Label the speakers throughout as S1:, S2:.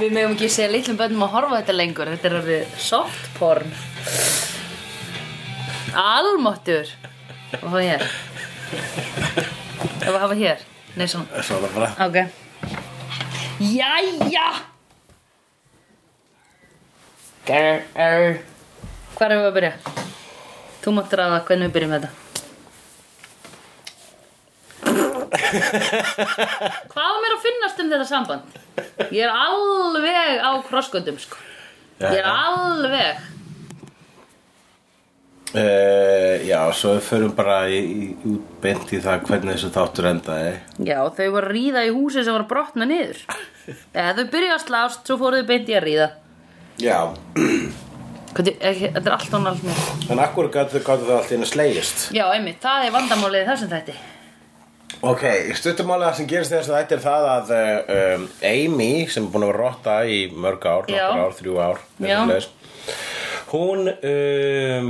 S1: Við mögum ekki segja litlum bönnum að horfa á þetta lengur Þetta er orðið soft porn Almáttur Og hafa hér Það var hafa hér Nei svona
S2: Svo er það bara
S1: Ok Jæja Grr. Hvar erum við að byrja? Þú mátt ráða hvernig við byrjum þetta Hvað á mér að finnast um þetta samband? Ég er alveg á krossgöndum sko Ég er alveg
S2: Uh, já, svo við förum bara í, í, út beint í það hvernig þessu þáttur endaði
S1: Já, þau voru að ríða í húsi sem var að brotna niður Eða þau byrjuðu að slást, svo fóruðu beint í að ríða
S2: Já,
S1: Hvernig, ekki, Þetta er allt án allt mér
S2: en akkur gætu gætu það allt inn að slegist
S1: Já, einmitt, það er vandamálið í þessum þætti
S2: Ok, stuttumálega sem gerist þess að þetta er það að uh, um, Amy sem er búin að vera rotta í mörg ár,
S1: Já.
S2: nokkur ár, þrjú ár
S1: Já.
S2: eitthvað svoleiðis, Hún um,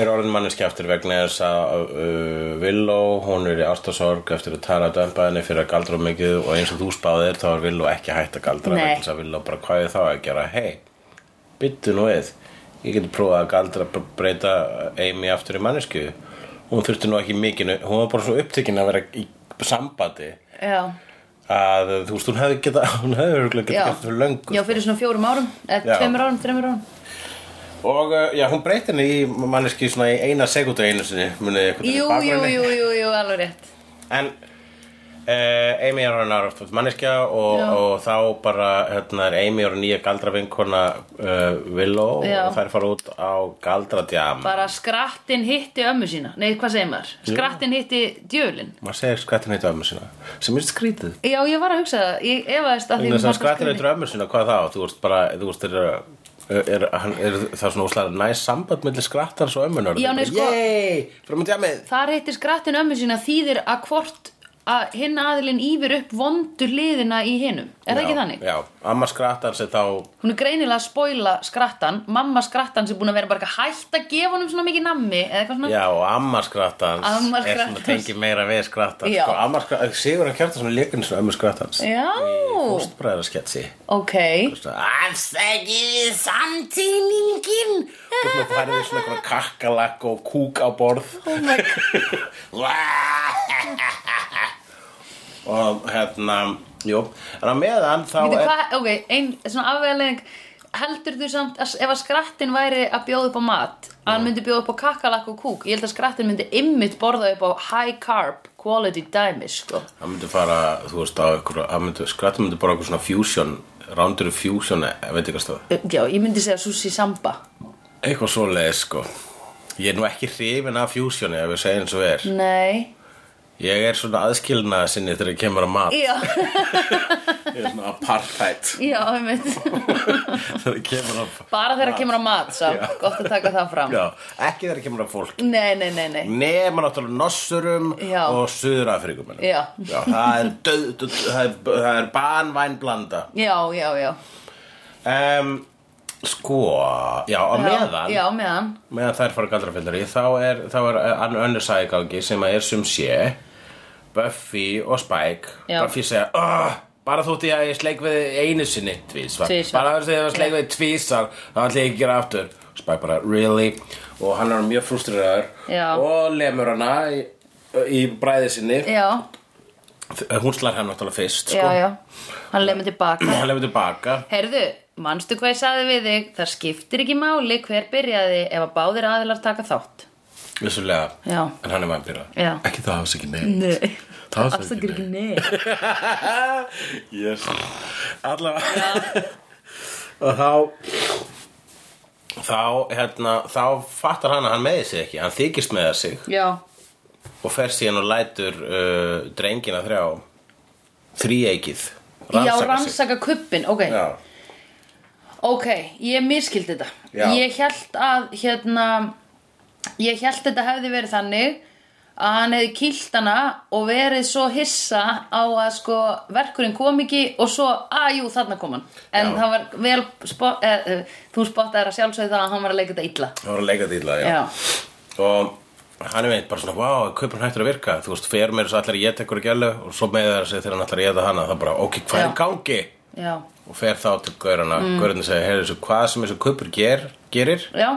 S2: er orðin manneski aftur vegna þess að uh, Willow, hún er í ástasorg eftir að Tara dömpa henni fyrir að galdra of mikið og eins og þú spáðir þá er Willow ekki hægt að galdra
S1: Nei.
S2: vegna þess að Willow bara hvað er þá að gera hei, byttu nú við ég geti prófað að galdra bara breyta Amy aftur í mannesku hún þurfti nú ekki mikið hún var bara svo upptekinn að vera í sambandi
S1: Já,
S2: að þú veist, hún hefði geta hún hefði örgulega geta
S1: Já.
S2: gert fyrir löngu
S1: já, fyrir svona fjórum árum
S2: Já.
S1: eða tveimur árum, þreimur árum
S2: og uh, já, hún breyti henni í manneski svona í eina sekundu einu sinni munið þið
S1: Jú,
S2: hvernig
S1: jú,
S2: bakgrunni?
S1: jú, jú, jú, alveg rétt
S2: En uh, Amy er hann aðra manneskja og,
S1: Já.
S2: og þá bara hérna, er Amy og nýja galdra vinkona uh, Willow
S1: Já.
S2: og þær fara út á galdradjam
S1: Bara skrattin hitti ömmu sína Nei, hvað segir maður? Skrattin hitti djöflin
S2: maður segir skrattin eitt ömmu sína sem er skrítið
S1: Já, ég var að hugsa það Ég efaðist að því
S2: Þannig að
S1: margar
S2: skrattin eitt
S1: skrýtni-
S2: ömmu sína, hvað þá? Þú veist bara, þú veist, er, er, er, hann- er það svona úslega næs samband millir skrattans og ömmunar
S1: Já, nei, sko-
S2: Yey, fram að djamið
S1: Þar hitti skrattin ömmu sína þýðir að hvort að hinn aðilinn yfir upp vondu hliðina í hinum Er það ekki þannig?
S2: Já, amma skrattar sem þá
S1: Hún er greinilega að spoila skrattan Mamma skrattan sem er búin að vera bara eitthvað hætt að gefa honum svona mikið nammi eða eitthvað svona
S2: Já, og amma skrattans
S1: Amma
S2: er svona
S1: skrattans.
S2: tengið meira við skrattans
S1: Já.
S2: sko, amma skrattans, Sigurðan Kjartason leikurinn sem ömmu skrattans
S1: Já,
S2: Fóstbræðarsketsi
S1: ok
S2: Afsækið samtímingin Og svona færið við svona eitthvað kakkalakk og kúk á borð
S1: Oh my god
S2: Og hérna, jú En á meðan þá
S1: Veitu
S2: er
S1: hvað, ok, ein svona afvegaleðing heldur þú samt að s- ef að skrattin væri að bjóða upp á mat að hann myndi bjóða upp á kakalakk og kúk ég held að skrattin myndi ymmit borða upp á high carb quality dæmi sko.
S2: Það myndi fara, þú veist, á ykkur myndi, Skrattin myndi bara eitthvað svona fusion Rándur fusion, veit ekki hvað stöð
S1: Eh, já, ég myndi segja sushi samba
S2: Eitthvað svoleiðis, sko Ég er nú ekki hrifin af fusioni ef við segjum svo er
S1: nei,
S2: Ég er svona aðskilnað sinni þegar ég kemur að mat
S1: já,
S2: Ég er svona apartheid
S1: já, ég myndi
S2: Þegar ég kemur að
S1: bara þegar það kemur á mat sá,
S2: Já.
S1: gott að taka það fram
S2: Já, ekki þegar ég kemur að fólk
S1: nei, nei, nei, nei
S2: Nema náttúrulega nossurum
S1: Já.
S2: og suður Afrikum
S1: Já.
S2: það er, döð, döð, það er, það er banvæn blanda
S1: já, já, já,
S2: um, Sko, já, á meðan
S1: já, meðan
S2: meðan þær fara galdrafellari þá er, þá er eh, ann önnur sægangi sem að er sum sé Buffy og Spike
S1: Já.
S2: Buffy segja "Ugh, bara þótti ég að ég sleik við einu sinni tvísvar,
S1: Tvisvar.
S2: bara þess að ég var sleik við tvísvar þá ætla ég ekki að gera aftur Spike bara, really, og hann er mjög frustreraður
S1: Já.
S2: og lemur hana í, í bræði sinni
S1: já,
S2: hún slar hann náttúrulega fyrst
S1: já,
S2: sko.
S1: já, hann lemur tilbaka
S2: hann lemur tilbaka
S1: Herðu, manstu hvað ég saði við þig? Það skiptir ekki máli hver byrjaði ef að báðir aðilar taka þátt.
S2: vissulega,
S1: Já.
S2: en hann er vampíra
S1: Já.
S2: ekki það hafs ekki neitt
S1: Nei.
S2: Það afsakar
S1: afsakar
S2: ekki
S1: ekki neitt.
S2: yes. allavega og þá þá, hérna, þá fattar hann að hann meði sig ekki hann þykist meða sig
S1: Já,
S2: og fer síðan og lætur uh, drengina þrjá þríeikið
S1: já,
S2: rannsaka sig
S1: rannsaka kuppin, ok.
S2: Já.
S1: Ok, ég miskildi þetta.
S2: Já.
S1: Ég held að, hérna, ég held þetta hefði verið þannig að hann hefði kýlt hana og verið svo hissa á að sko verkurinn kom ekki og svo, að jú, þarna kom hann. En
S2: Já.
S1: það var vel, spo, eh, eh, þú spottaði að sjálfsögðu það að hann var að leika þetta illa.
S2: það var að leika dýla, já.
S1: Já.
S2: og hann er veit bara svona, vá, kaupin hættur að virka þú veist, fer mér þess að allir að geta ykkur gælu og svo meðar sig þegar hann allir að geta hana þá bara, ok, hvað er
S1: Já.
S2: í gangi?
S1: Já,
S2: og fer þá til gaurana mm. gaurana segir, heyrðu þessu, hvað sem þessu kuppur ger, gerir,
S1: já,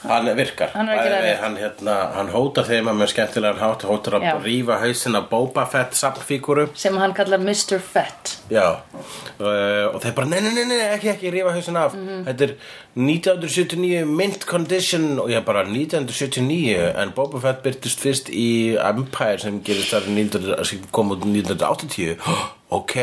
S2: hann virkar
S1: Hann er að
S2: Bæði
S1: gera
S2: við,
S1: rétt.
S2: hann, hérna, hann hótar þeim að mjög skemmtilegan hátt hótar að
S1: Já.
S2: rífa hausinn af Boba Fett samfíkuru
S1: sem hann kallar Mr. Fett
S2: Já, uh, og þeir bara, nei, nei, nei, nei, ekki, ekki, rífa hausin af Þetta er 1979 mint condition og ég bara 1979 en Boba Fett byrtist fyrst í Empire sem gerist þar 19, sem kom út 1980 Ok,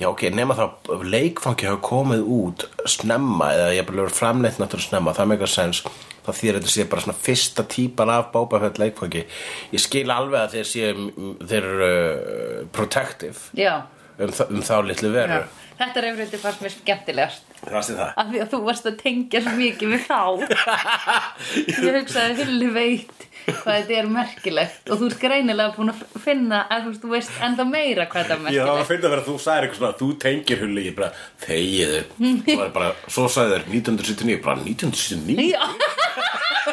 S2: já, ok, nema þá leikfangi hafa komið út snemma eða ég bara lögur framleitt náttúrulega snemma, það meikar sens það þýr þetta sé bara svona fyrsta típan af Boba Fett leikfangi Ég skil alveg að þeir séu, þeir eru uh, protective
S1: já,
S2: um, þa- um þá litlu veru
S1: já. þetta er einhverjum þetta fannst mér skemmtilegast
S2: það sé það
S1: af því að þú varst að tengja svo mikið við þá ég hugsaði Hilli veit hvað þetta er merkilegt og þú ert greinilega búin að finna að þú veist, þú veist enda meira hvað þetta er
S2: Ég það var
S1: merkilegt
S2: fyrir að vera að þú sagðir eitthvað svona, þú tengir hulli, ég bara, þegiðu, þú var bara, svo sagði þér 1979, ég bara 1979,
S1: Já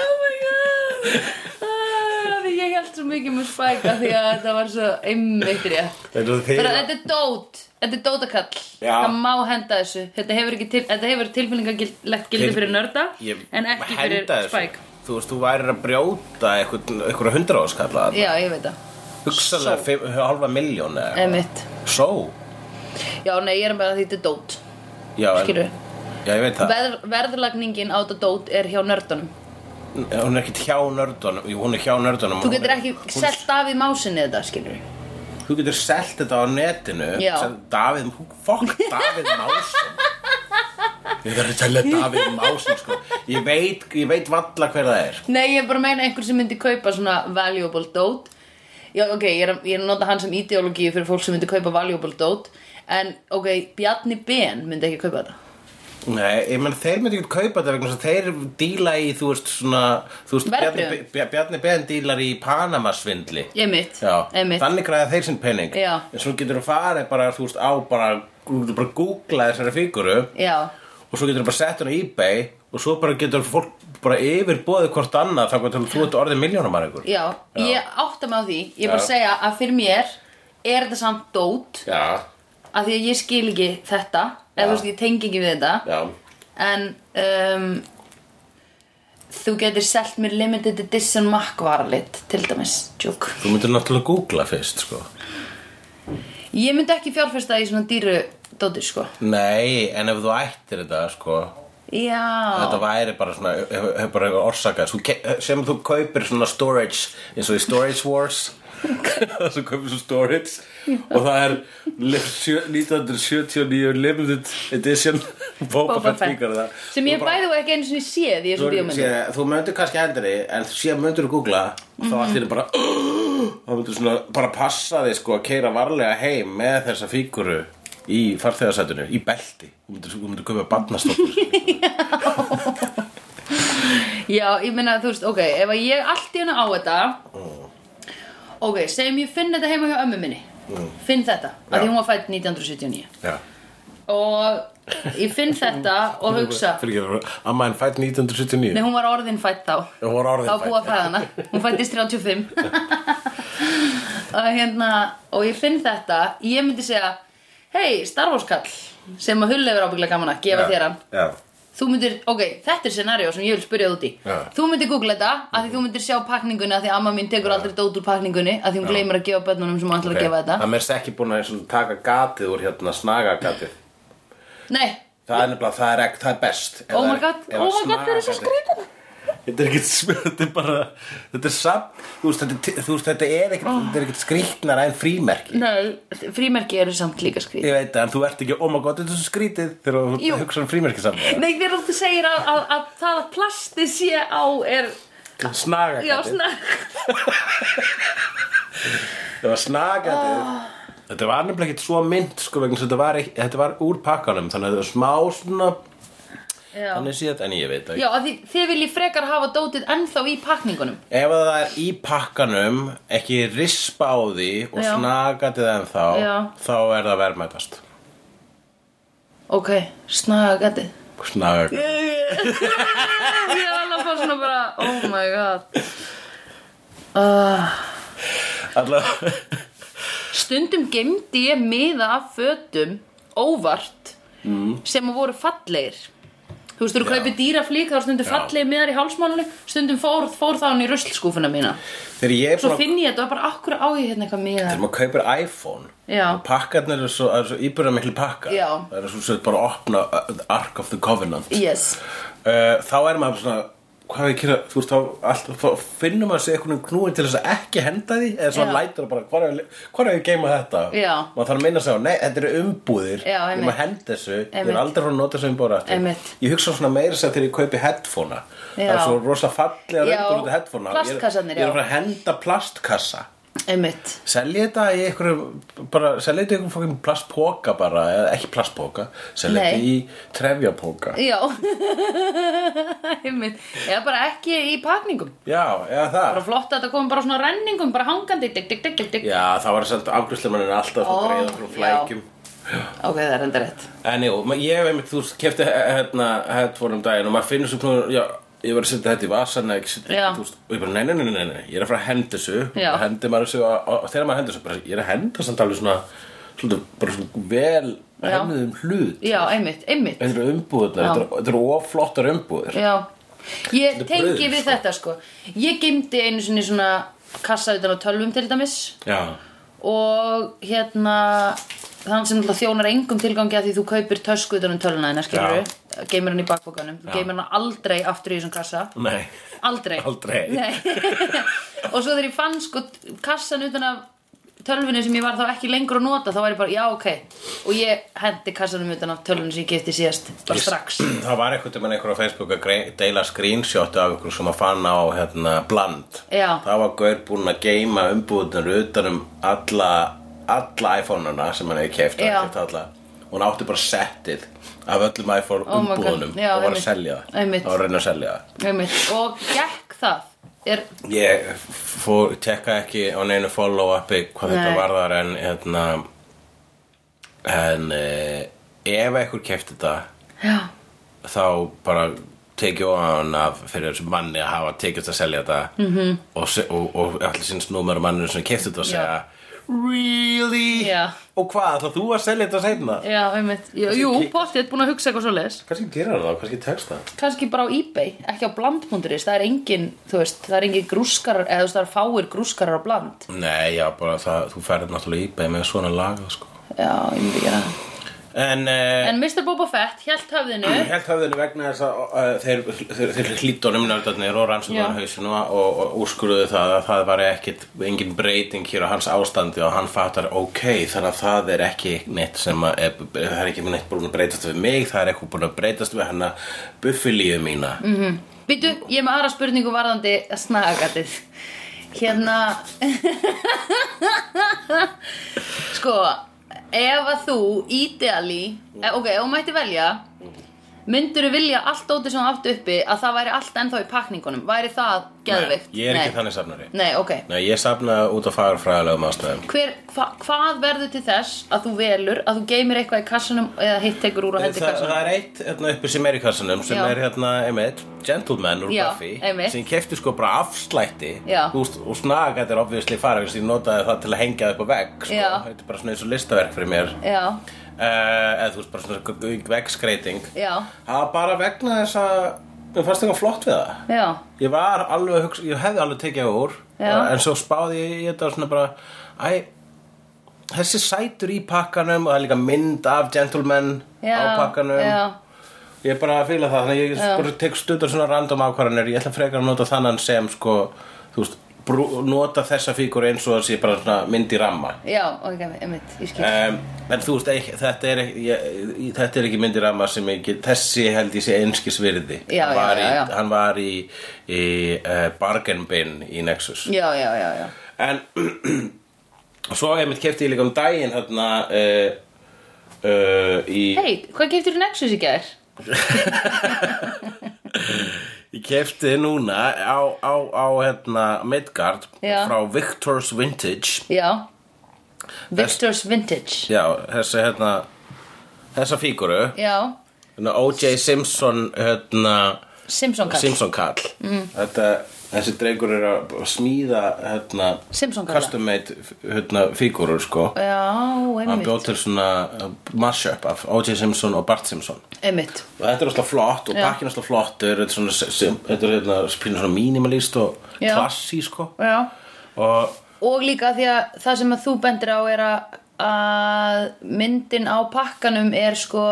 S1: Oh my god Ah, Því ég held svo mikið með spæka því að þetta var svo einmitt rétt
S2: þetta er
S1: Bara
S2: þegar,
S1: þetta er dót Þetta er dótakall
S2: Já.
S1: Það má henda þessu Þetta hefur, ekki til, þetta hefur tilfinningalegt gildi
S2: Til-
S1: fyrir nörda
S2: ég
S1: En ekki fyrir
S2: henda þessu.
S1: spæk
S2: Þú veist, þú værir að brjóta einhvern- einhverja hundra áskalla það,
S1: Já, ég veit það
S2: hugsalega fimm- hálfa miljón eða,
S1: Einmitt
S2: svo,
S1: Já, nei, ég er bara að því þetta er dót
S2: já, en-
S1: Skilurðu?
S2: já, ég veit það,
S1: Verð, Verðlagningin á þetta dót er hjá nördunum
S2: hún er ekkert hjá nördunum, jú, hún er hjá nördunum,
S1: Þú
S2: hún
S1: getur
S2: er-
S1: ekki
S2: hún-
S1: selt af í másinni þetta, skilur
S2: Þú getur selt þetta á netinu
S1: Já.
S2: sem Davíð, fokk Davíð Másson Ég þarf að selja Davíð Másson sko. ég, veit, ég veit valla hver það er
S1: Nei, ég er bara að meina einhver sem myndi kaupa svona valuable dót Já, ok, ég er, að- ég er að nota hann sem ideológíu fyrir fólk sem myndi kaupa valuable dót En, ok, Bjarni Ben myndi ekki kaupa þetta
S2: Nei, ég menn þeir myndi ekki kaupa þetta vegna þess að þeir díla í, þú veist, svona þú veist, Bjarni,
S1: Verðbréfum.
S2: Bjarni- Bjarni Ben dílar í Panamasvindli
S1: Ég mitt,
S2: Já,
S1: ég mitt
S2: þannig græða þeir sinn pening
S1: Já.
S2: en svo getur þú farið bara, þú veist, á bara, þú getur bara googla þessari fíguru
S1: Já,
S2: og svo getur þú bara sett hún á ebay og svo bara getur fólk bara yfirbóðið hvort annað þá getur þú ert orðið miljónumar
S1: já, ég átta mig á því Ég er bara
S2: Já.
S1: að segja að fyrir mér er þetta samt dót
S2: Já,
S1: Af því að ég skil ekki þetta Eða
S2: Já.
S1: þú veist, ég tengi ekki við þetta
S2: já,
S1: En, um, þú getur selt mér limited edition Mac varalit, til dæmis, joke
S2: þú myndir náttúrulega googla fyrst, sko
S1: Ég myndi ekki fjárfesta í svona dýru dóttir sko
S2: Nei, en ef þú ættir þetta, sko Þetta
S1: Já,
S2: væri bara svona, hefur hef bara eitthvað orsaka Svo ke- sem þú kaupir svona storage eins og í Storage Wars Svo kaupir svona storage og það er li- sjö- 1979 limited edition Boba
S1: Boba
S2: Fett
S1: Fett
S2: fíkar það
S1: sem ég bæði og ekki einu sinni séð í
S2: Þú,
S1: þessum bíómyndum
S2: sé- þú myndir kannski hendri en síðan myndir þú googla og
S1: Mhm.
S2: þá allir bara þá myndir svona bara passa þig sko að keira varlega heim með þessa fíguru í farþegarsætunu, í belti þú myndir, þú myndir köpa barnastóttur
S1: Já, ég meina þú veist, ok, ef að ég allt í hana á þetta
S2: Mm.
S1: Ok, segjum ég finn þetta heima hjá ömmu minni Finn þetta, af
S2: Mm. Já.
S1: því hún var fætt 1979
S2: já
S1: Og ég finn þetta og hugsa
S2: Fyrir ekki, amma henn fætt 1979
S1: Nei, hún var orðin fætt þá
S2: Hún var orðin
S1: Þá
S2: fædd.
S1: búa fæðana Hún fættist 35 og, hérna, og ég finn þetta Ég myndi segja Hei, Star Wars kall Sem að Hulli hefur ábygglega gaman að gefa þér hann
S2: já,
S1: Þú myndir, ok, þetta er scenario sem ég vil spyrja þú út í
S2: Já.
S1: Þú myndir googla þetta Af því þú myndir sjá pakningunni Af því amma mín tekur aldrei dót úr pakningunni Af því hún gleymir að gefa bönnunum sem hún ætlar
S2: ok.
S1: að gefa þetta
S2: Það merst ekki búin að eins og taka gatið úr hérna snagagatið
S1: Nei,
S2: Það er nefnilega, það er, ekki, það er best Ef
S1: oh
S2: það
S1: my
S2: er-
S1: god,
S2: ef
S1: oh
S2: það
S1: my god, það er svo
S2: snagagatið-
S1: skrýtum
S2: Þetta er ekkert smið, þetta er bara Þetta er samt, þú veist, þetta, þú veist, þetta er ekkert Þetta er ekkert skrýtnar en frímerki
S1: Nei, frímerki eru samt líka skrýt
S2: Ég veit það, en þú ert ekki, oh my god, þetta er svo skrýtið Þegar
S1: Jú.
S2: þú hugsa um frímerki samt
S1: Nei, þegar þú segir að, að, að það að plasti sé á er Já,
S2: Snagagatið,
S1: svona
S2: þetta var snagagatið
S1: Ah.
S2: Þetta var nefnilega ekkert svo mynd, sko, vegna þess að þetta var, ekki, þetta var úr pakkanum Þannig að þetta var smá svona
S1: Já,
S2: Þannig séð, en ég veit það ekki
S1: Já af því, þið viljið frekar hafa dótið ennþá í pakningunum
S2: Ef að það er í pakkanum, ekki rispa á því og
S1: Já.
S2: snagatið en þá
S1: Já.
S2: Þá er það verðmætast
S1: Ok, snaga gætið
S2: Snagatið
S1: Ég er alveg að fá svona bara, oh my god uh,
S2: Alla
S1: stundum gemdi ég miða af fötum óvart sem voru fallegir þú veist, þú eru
S2: Mm. Já.
S1: kaupið dýra flík þá eru stundum
S2: Já.
S1: fallegir miðar í hálsmálunni stundum fór, fór það hann í ruslskúfuna mína
S2: Þegar ég er
S1: svo
S2: búin að
S1: finn ég þetta og bara akkur á ég hérna eitthvað miða
S2: Þegar maður kaupir iPhone
S1: Já.
S2: og pakkarnir eru svo, það eru svo íbyrða miklu pakkar
S1: Já.
S2: það eru svo svo bara að opna uh, the Ark of the Covenant
S1: yes,
S2: uh, þá er maður svona hvað er kýra, þú veist þá, allt, þá finnum maður sér einhvern knúin til þess að ekki henda því eða svona
S1: Já.
S2: lætur og bara, hvað er, hvað er að geima þetta
S1: Já.
S2: maður þarf að minna sér á, nei, þetta eru umbúðir
S1: Já,
S2: ég
S1: einmitt.
S2: maður henda þessu, ég
S1: Einmitt.
S2: er aldrei frá að nota þessu umbúður aftur
S1: Einmitt.
S2: ég hugsa svona meira sér þegar ég kaupi headphonea það er
S1: Já.
S2: svo rosa fallega
S1: Já.
S2: umbúður headphonea Ég er-
S1: Plastkassarnir,
S2: ég
S1: já.
S2: er frá að henda plastkassa
S1: einmitt
S2: Selja þetta í einhverju, bara, selja þetta í einhverju fokkin plastpoka bara, eða ekki plastpoka, selja
S1: Nei.
S2: þetta í trefjapoka.
S1: já einmitt, eða bara ekki í pakningum
S2: Já, eða það.
S1: bara flott að þetta kom bara svona renningum bara hangandi, digg, digg, digg, digg, digg
S2: Já, það var þess að afgriðslumannin alltaf
S1: Ó,
S2: að greiða okkur úr
S1: já.
S2: flækjum.
S1: ok, það er enda rétt
S2: En jú, ma- ég hef einmitt, þú veist, kefti hérna, headphone um daginn og maður finnur svo knúður, já, ég var að setja þetta í vasan eða ekki setja,
S1: Já.
S2: þú veist, og ég bara, nei, nei, nei, nei, nei, ég er að fara að henda þessu,
S1: Já.
S2: hendi maður þessu, og- og þegar maður henda þessu, bara, ég er að henda samt alveg svona, svolítið, bara svona vel,
S1: Já.
S2: hennuðum hlut.
S1: já, einmitt, einmitt
S2: Þetta eru umbúðunar,
S1: Já.
S2: þetta eru- þetta eru oflottar umbúður.
S1: Já, ég
S2: Þetta er
S1: tengi
S2: brauð,
S1: við
S2: sko.
S1: þetta sko Ég geymdi einu sinni svona kassa utan á tölvum til dæmis
S2: Já,
S1: og hérna þann sem náttúrulega þjónar engum tilgangi að því þú kaupir tösku utan um tölvuna þina skilur við geymir hann í bakbókanum, þú
S2: Já.
S1: geymir hann aldrei aftur í þessum kassa
S2: nei,
S1: Aldrei,
S2: Aldrei.
S1: Nei. Og svo þegar ég fann sko kassan utan af tölvunni sem ég var þá ekki lengur að nota þá var ég bara, já ok og ég hendi kassanum utan af tölvunni sem ég geti síðast bara strax
S2: það var einhvern veginn einhver á Facebook að grei- deila screenshot af einhver sem að fann á hérna, bland
S1: Já.
S2: það var gaur búinn að geima umbúðunar utan um alla, alla iPhone-una sem hann hefði keft,
S1: Já.
S2: og hún átti bara settið af öllum iPhone
S1: Oh my God.
S2: umbúðunum
S1: Já,
S2: og var að
S1: einmitt.
S2: selja það
S1: Einmitt.
S2: og var að reyna að selja það
S1: Einmitt. og gekk það er,
S2: ég fór, tekka ekki á neinu follow-upi hvað
S1: Nei.
S2: þetta varðar en hérna en eh, ef einhver kefti þetta
S1: já,
S2: þá bara tekið ofan af fyrir þessu manni að hafa tekist að selja þetta -hmm.
S1: Mhm.
S2: og, se- og, og allir sinns númer mannur sem kefti þetta og segja Really?
S1: Já.
S2: Og hvað, þá þú að selja þetta seinna?
S1: já, einmitt jú, jú pottið búin að hugsa eitthvað svo leis
S2: Kannski gerir það, kannski tekst það
S1: kannski bara á ebay, ekki á bland.is það er engin, þú veist, það er engin grúskarar eða þú veist, það er fáir grúskarar á bland
S2: Nei, já, bara það, þú færið náttúrulega íbæði með svona laga, sko
S1: já, ég myndi gera það
S2: En, eh,
S1: en Mr. Boba Fett held höfðinu
S2: Ég held höfðinu vegna þess að uh, þeir, þeir, þeir hlítunum nördarnir og rannsóðan
S1: Já.
S2: hausinu og, og úrskurðuðu það að það var ekkit engin breyting hér á hans ástandi og hann fattar ok, þannig að það er ekki neitt sem að, er, það er ekki neitt búin að breytast við mig, það er eitthvað búin að breytast við hann að buffilíu mína
S1: Mhm,
S2: mm.
S1: býtu, ég er með aðra spurningu varðandi snagatið hérna sko ef að þú ideali
S2: Mm.
S1: eh, ok, ef þú mætti velja myndur þú vilja allt óti sem þú átti uppi að það væri allt ennþá í pakningunum væri það geðveikt?
S2: Ég er ekki
S1: Nei.
S2: þannig safnari
S1: Nei, ok
S2: Nei, ég safnaði út að fara fræðilegum ástæðum
S1: Hver, hva, hvað verður til þess að þú velur að þú geymir eitthvað í kassanum eða hitt tekur úr og hendur
S2: Þa,
S1: kassanum
S2: það er eitt hérna, uppi sem er í kassanum sem
S1: Já.
S2: er hérna, einmitt, gentleman úr
S1: Já,
S2: Buffy
S1: einmitt.
S2: sem kefti sko bara afslætti
S1: Já.
S2: Þú veist, og snagat er obviously fara sem notaði það til að hengja það upp á vegg sko.
S1: Já.
S2: þetta er bara svona eins og listaverk fyrir mér uh,
S1: Já,
S2: eða þú veist bara svona veggskreiting
S1: já,
S2: það var bara vegna þess að mér fannst eitthvað flott við það
S1: já
S2: ég var alveg að hugsa, ég hefði alveg tekið það úr eh,
S1: Já.
S2: en svo spáði ég, ég þetta svona bara æ, þessi sætur í pakkanum og það er líka mynd af gentleman
S1: Já,
S2: á pakkanum
S1: já.
S2: ég bara fíla það, þannig að ég bara tek stundar svona random ákvarðanir, ég ætla frekar að nota þannan sem sko, þú veist brú, nota þessa fígur eins og þessi bara svona mynd í ramma
S1: Já, ok, einmitt, ég skil
S2: um, en þú veist, ekki, þetta, er, ekki- ég, þetta er ekki myndir amma sem ekki, þessi held ég sé einskis virði
S1: Já, já,
S2: hann var
S1: já,
S2: í,
S1: já.
S2: hann var í, í uh, bargain bin í Nexus
S1: Já, já, já, já
S2: en svo einmitt kefti ég líka um daginn þarna uh, uh, í
S1: Hei, hvað getur þú Nexus í gær?
S2: Ég kefti núna á, á, á hérna, Midgard
S1: Já.
S2: frá Victor's Vintage
S1: Já Victor's Vintage
S2: Já, þessi hérna þessa fíguru
S1: Já,
S2: hérna, O.J. Simpson hérna,
S1: Simpson kall
S2: Simpson kall mm. þetta þessi drengur er að smíða hérna,
S1: Simpson-kalla.
S2: custom-made hérna, fígurur sko
S1: Já,
S2: hann
S1: einmitt
S2: bjóð til svona uh, mashup af O.J. Simpson og Bart Simpson
S1: Einmitt
S2: og þetta er alltaf flott og
S1: Já.
S2: pakkin er alltaf flott þetta er svona, sim- þetta er hérna, pínu svona minimalist og
S1: Já.
S2: klassi sko
S1: Já
S2: og
S1: Og líka því að það sem að þú bendir á er að, að myndin á pakkanum er sko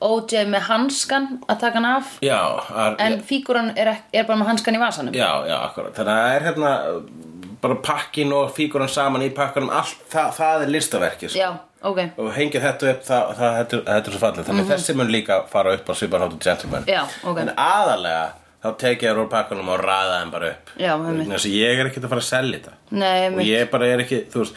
S1: OJ með hanskan að taka hann af
S2: já, að,
S1: en fíguran er, ek- er bara með hanskan í vasanum
S2: já, já, akkurat þannig að það er hérna uh, bara pakkin og fíguran saman í pakkanum allt, það, það er listaverki sko.
S1: Já, ok
S2: og hengið þetta upp það, það, þetta, er- þetta er svo fallið þannig þessi mun líka fara upp á sviparhátt og gentleman
S1: Mhm. Já, ok.
S2: en aðalega þá tekið þér úr pakkanum og ræða þeim bara upp
S1: Já, einmitt.
S2: Vegna þess að ég er ekkert að fara að selja þetta
S1: Nei,
S2: og
S1: einmitt
S2: ég bara er ekki þú veist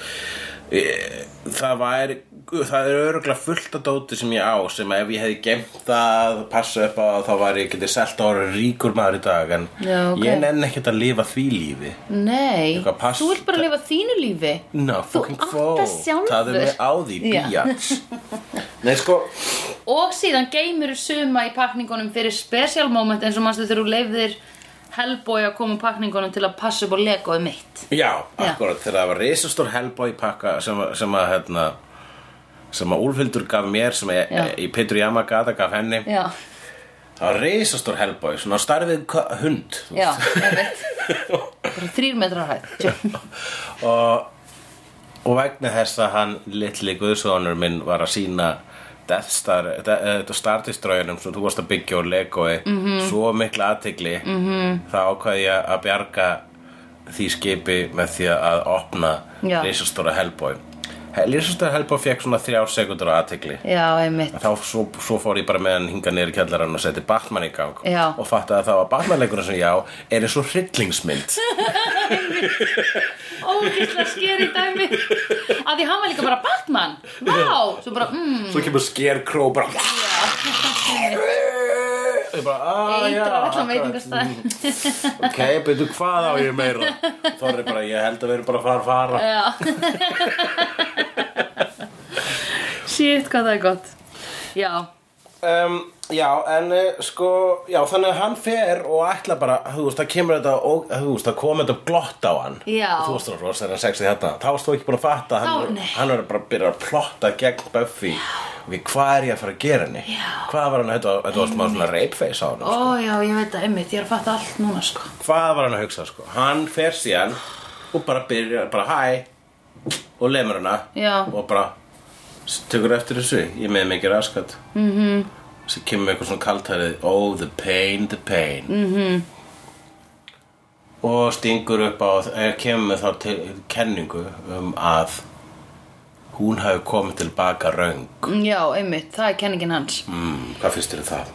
S2: ég- það væri það er öruglega fullt af dóti sem ég á sem ef ég hefði gemt það passa upp á þá væri ég getið selt á orðið ríkur maður í dag en
S1: Já, ok.
S2: ég nenni ekkert að lifa því lífi
S1: Nei,
S2: Eitthvað pass-
S1: þú vilt bara lifa þínu lífi
S2: No,
S1: Þú
S2: fucking
S1: átt það sjálfur
S2: Það er mig á því,
S1: Já.
S2: bíjans Nei, sko
S1: Og síðan geymir suma í pakningunum fyrir special moment eins og mannstu þegar þú leifðir Hellboy að koma úr pakningunum til að passa upp á legoði mitt
S2: Já,
S1: Já.
S2: akkurat, þegar það var risastór Hellboy pakka sem, sem að hérna, sem að Úlfhildur gaf mér sem ég,
S1: Já.
S2: í Petru Yamagata gaf henni
S1: Já,
S2: það var risastór Hellboy, svona starfið hund þú
S1: já,
S2: veist.
S1: einmitt Bara Þrír metrar hægt
S2: og, og vegna þess að hann litli guðsónur minn var að sína Death Star, de, uh, Star Destroyerum sem þú varst að byggja úr Legoi
S1: Mhm.
S2: -hmm. svo mikla aðtegli -hmm. þá ákvað ég að bjarga því skipi með því að opna
S1: Já.
S2: risastóra Hellboy He- risastóra Hellboy fekk svona þrjár sekundur á aðtegli
S1: Já, einmitt
S2: þá svo, svo fór ég bara með hann hinga niður í kjallarann og setti Batman í gang
S1: Já.
S2: og fattaði að þá að Batman-leikurinn sem ég á er eins og hryllingsmynd
S1: ógislega skeri dæmi að því hann var líka bara Batman vá, svo bara mm,
S2: svo kemur skerkró og bara Ég bara, aaa, Ah, já
S1: eitra allan
S2: akkurat. Mm.
S1: veitingastæð
S2: Ok, betur hvað á ég meira Þorri bara, ég held að við erum bara að fara að fara
S1: já shit hvað það er gott já,
S2: um, Já, en eh, sko Já, þannig að hann fer og ætla bara Þú veist, það kemur þetta og, Þú veist, það kom þetta glott á hann
S1: Já.
S2: Og Þú veist, það rosa er hann sexið hérna Þá varst þú ekki búin að fatta að
S1: Þá,
S2: Hann,
S1: nei.
S2: hann er bara að byrja að plotta gegn Buffy Ok, hvað er ég að fara að gera henni?
S1: Já.
S2: Hvað var hann, þetta, þetta var smá svona rapeface á hann
S1: ó já, ég veit það einmitt, ég er að fatta allt núna sko
S2: hvað var hann að hugsa sko hann fer síðan og bara byrja bara hæ og lemur hana
S1: Já.
S2: og bara s- tekur eftir þessu ég með mikið raskat mm -hmm. sem kemur með eitthvað svona kaltærið oh the pain, the pain mm -hmm. og stingur upp á eh, kemur með þá til kenningu um að hún hafi komið tilbaka röng
S1: Mm, já, einmitt, það er kenningin hans
S2: mm, hvað finnst þér um það?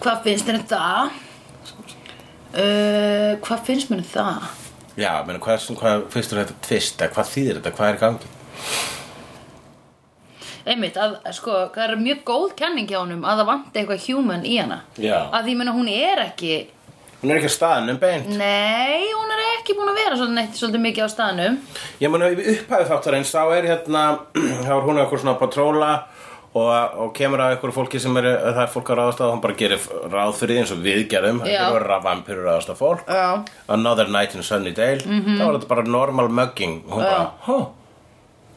S1: hvað finnst þér um það? Uh, hvað finnst mér um það?
S2: Já, meni, hvað, hvað finnst þér um þetta tvista? Hvað þýðir þetta? Hvað er í gangi?
S1: Einmitt, að, sko, það er mjög góð kenning hjá honum að það vanti eitthvað human í hana
S2: Já.
S1: að því, ég meina, hún er ekki
S2: Hún er ekki að staðanum beint
S1: Nei, hún er ekki búin að vera svolítið neitt svolítið mikið á staðnum
S2: Ég mun að upphæðu þáttarins, þá er hérna, þá er hún eitthvað svona að patróla og, og kemur að eitthvað fólki sem er, það er fólk að ráðast að, hún bara gerir ráð fyrir því eins og við gerum,
S1: Já.
S2: það eru vampirur ráðast að fólk.
S1: Já.
S2: Another night in Sunnydale, mm
S1: Mhm.
S2: þá er þetta bara normal mugging og hún bara, hó,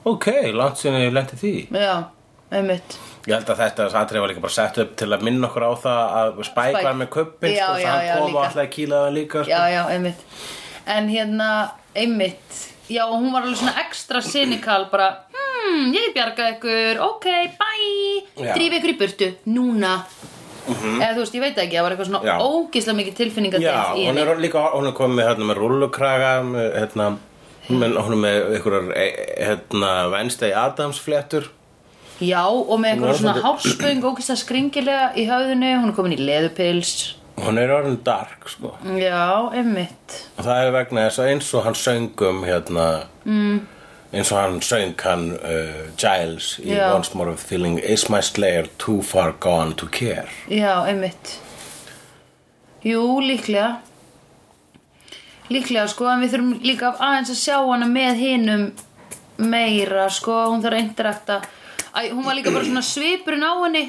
S2: ok, langt sinni ég lendi því.
S1: Já, einmitt
S2: Ég held að þetta atrið var líka bara sett upp til að minna okkur á það að Spike
S1: Spike.
S2: var með kuppin,
S1: Já,
S2: sko,
S1: já,
S2: svo hann
S1: já,
S2: kom
S1: líka.
S2: og alltaf kýlaði hann líka, sko.
S1: Já, já, einmitt En hérna, einmitt Já, og hún var alveg svona ekstra cynical bara, hmm, ég bjarga ykkur ok, bye,
S2: Já. Mhm.
S1: drífi ykkur í burtu núna Eða þú veist, ég veit ekki, það var eitthvað svona
S2: Já.
S1: ógislega mikið tilfinningategt
S2: Já,
S1: í
S2: hún
S1: henni
S2: er líka, hún er komið með, hérna, með rullukraga, með, hérna, með, hún er með einhverjar, e- hérna, Wednesday Adams fléttur.
S1: Já, og með
S2: Hún er
S1: eitthvað svona
S2: svolítið-
S1: hárspöng ógislega skringilega í höfðinu hún er komin í leðupils
S2: Hún er orðin dark, sko.
S1: Já, einmitt
S2: Og það er vegna þess að eins og hann söngum, hérna, mm. eins og hann söng hann uh, Giles í
S1: Já.
S2: Once More of Feeling Is My Slayer Too Far Gone To Care.
S1: Já, einmitt Jú, líklega Líklega, sko, en við þurfum líka aðeins að sjá hana með hinum meira, sko, hún þarf að interakta Æ, hún var líka bara svona svipurinn á henni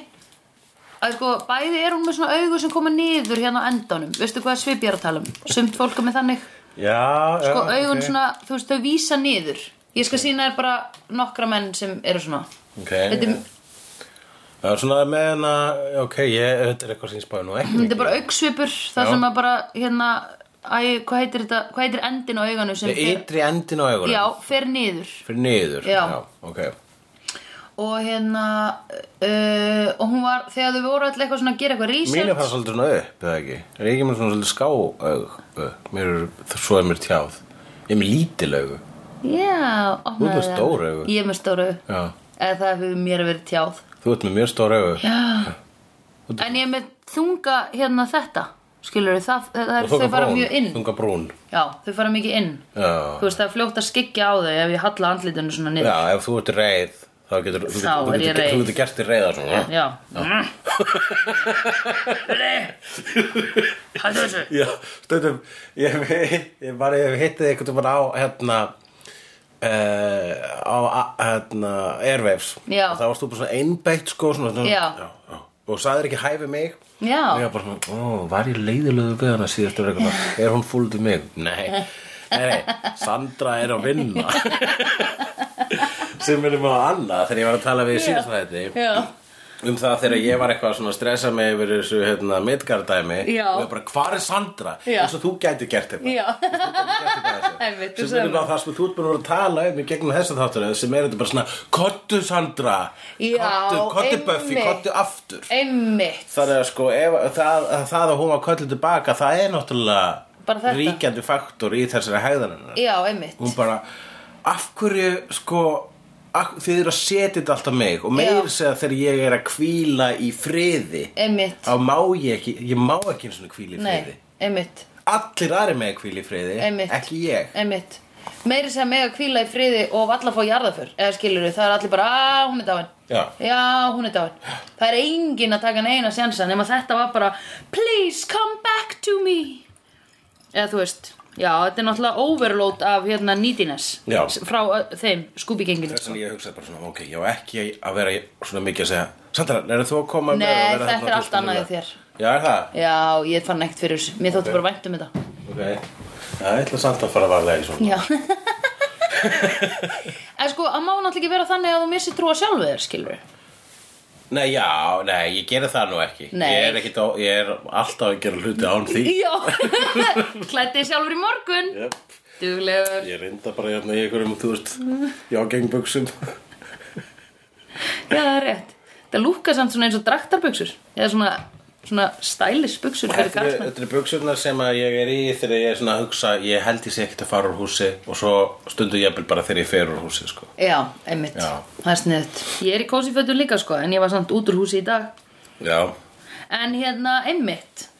S1: að sko, bæði er hún með svona augu sem koma niður hérna á endanum veistu hvað svip ég er að tala um sumt fólk er með þannig
S2: Já,
S1: sko,
S2: já,
S1: augun
S2: ok.
S1: svona, þú veist, þau vísa niður ég skal sína þér bara nokkra menn sem eru svona
S2: Ok.
S1: þetta, er-
S2: Það er svona með hana, ok, ég, þetta er eitthvað sem ég spáði nú ekki.
S1: þetta er bara augsvipur það
S2: Já.
S1: sem að bara, hérna æ, hvað heitir þetta, hvað heitir endin á auganu sem
S2: Þetta er ytri endin á augunum.
S1: já, fer niður
S2: Fyrir niður.
S1: Já.
S2: ok.
S1: og hérna uh, og hún var, þegar þau voru allir eitthvað svona að gera eitthvað
S2: Mín er
S1: research
S2: fara svolítið svona upp, eða ekki? Er ég ekki með svona svolítið ská aug? Mér er, svo er mér tjáð. Ég er með lítil augu.
S1: já,
S2: Þú ert
S1: opnaði
S2: með
S1: það.
S2: stór augu.
S1: ég er með stóru augu
S2: Já.
S1: eða það hefur mér verið tjáð
S2: Þú ert með mjög stór augu.
S1: já en ég er með þunga hérna þetta skilur það, það, það er, þau fara mjög inn
S2: Þunga brún.
S1: já, þau fara mikið inn
S2: Já.
S1: þú veist það er fljótt að skyggja á þau ef ég halla andlitinu svona niður
S2: Já, ef þú ert reið, þá getur, þú
S1: Þá
S2: getur,
S1: er
S2: þú
S1: ég
S2: getur,
S1: reið.
S2: þú getur gert þér reiða svona.
S1: já, Ah. já. hættu þessu
S2: Já, stundum ég, ég, ég bara hef hittið einhvern veginn á hérna uh, á a- hérna Airwaves
S1: Já.
S2: og þá varst þú bara svona einbeitt sko svona, svona,
S1: Já.
S2: Já, já. og sagðir ekki hæfi mig
S1: Já.
S2: og ég var bara svona, ó, var ég leiðilegu við hana síðast er eitthvað, er hún fúld við mig? Nei, nei, nei, Sandra er að vinna sem erum á annað þegar ég var að tala við síðast að þetta
S1: já,
S2: um það þegar ég var eitthvað svona að stressa mig yfir þessu hérna, Midgard-dæmi og
S1: Já.
S2: ég bara, hvar er Sandra?
S1: Já.
S2: eins og þú gæti gert þetta
S1: já um Einmitt, þú
S2: sem
S1: sagðir
S2: er bara
S1: það.
S2: það sem þú ert búin að vera að tala um í gegnum þessu þáttur sem er þetta bara svona kottu Sandra
S1: Já,
S2: kottu, kottu Buffy,
S1: einmitt.
S2: kottu aftur
S1: einmitt
S2: þannig að sko ef, það, það að hún var kottu tilbaka það er
S1: Bara
S2: náttúrulega
S1: þetta.
S2: ríkjandi faktor í þessari hæðanina
S1: já, einmitt
S2: hún bara af hverju sko af, þið eru að setja þetta alltaf mig og meira
S1: Já.
S2: segja þegar ég er að hvíla í friði
S1: einmitt,
S2: þá má ég ekki, ég má ekki eins og hvíla í friði
S1: nei, einmitt
S2: allir aðri með hvíla í friði
S1: Einmitt.
S2: ekki ég
S1: Einmitt. Meiri sem mega kvíla í friði og valla að fá jarðaför. Eða skilur það er allir bara, að hún er dáin.
S2: Já.
S1: Já, hún er dáin. Það er enginn að taka neina sjansa nema þetta var bara, please come back to me. Eða þú veist, já, þetta er náttúrulega overload af hérna neediness.
S2: Já.
S1: S- Frá ö, þeim, skúbigenginu.
S2: þess vegna ég hugsaði bara svona ok, ég á ekki að vera svona mikið að segja Sandra, er þú að koma
S1: Nei,
S2: með og vera
S1: þetta
S2: hérna
S1: er
S2: á
S1: allt annað
S2: disknum
S1: í þér.
S2: með?" já, er það?
S1: Já, ég fann ekkert fyrir þessu. Mér þótti
S2: Ok.
S1: bara vænt um þetta.
S2: ok, já, ég ætla samt að fara að varlega í svona
S1: Já. en sko, að má náttúrulega ekki vera þannig að þú missi trúa sjálfu þér, skilur
S2: nei, já, nei, ég geri það nú ekki
S1: Nei.
S2: ég er, ekkit, á- ég er alltaf að gera hluti án því
S1: Já, klætti þig sjálfur í morgun
S2: yep.
S1: Duglegur
S2: ég reynda bara hérna í einhverjum, þú veist jágengböksum
S1: Já, það er rétt Það lúkka samt svona eins og draktarbuxur Eða svona, svona stylish buxur fyrir
S2: Þetta eru-
S1: karlmenn
S2: þetta eru buksurnar sem að ég er í þegar ég er svona að hugsa, ég held ég sé ekkert að fara úr húsi og svo stundu ég bara þegar ég fer úr húsi sko.
S1: Já, einmitt,
S2: Já.
S1: það er sniðut Ég er í kósifötum líka sko, en ég var samt út úr húsi í dag
S2: Já,
S1: En hérna, einmitt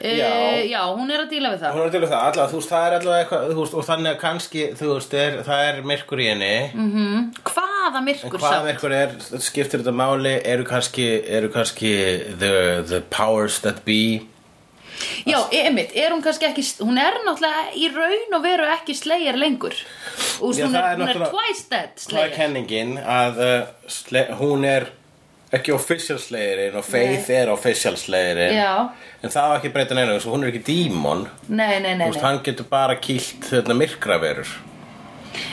S1: Eh,
S2: Já.
S1: já, hún er að díla við það
S2: hún er til í það, allavega, þú veist, það er allavega eitthvað, þú veist, og þannig að kannski, þú veist, er, það er myrkur í henni, mm,
S1: Hvaða myrkur
S2: hvaða
S1: samt
S2: myrkur er, skiptir þetta máli, eru kannski, eru kannski the, the powers that be,
S1: Já, einmitt, er hún kannski ekki Hún er náttúrulega í raun og veru ekki slegjar lengur Og
S2: Já,
S1: hún
S2: það
S1: er,
S2: er
S1: hún er
S2: náttúrulega-
S1: twice dead
S2: það er
S1: slegjar
S2: kenningin að uh, sle, hún er ekki official slegirinn og Faith er official slegirinn,
S1: Já.
S2: en það var ekki breyta neina, hún er ekki dímon,
S1: Nei, nei, nei,
S2: Þú veist,
S1: nei.
S2: hann getur bara kýlt þetta myrkraverur.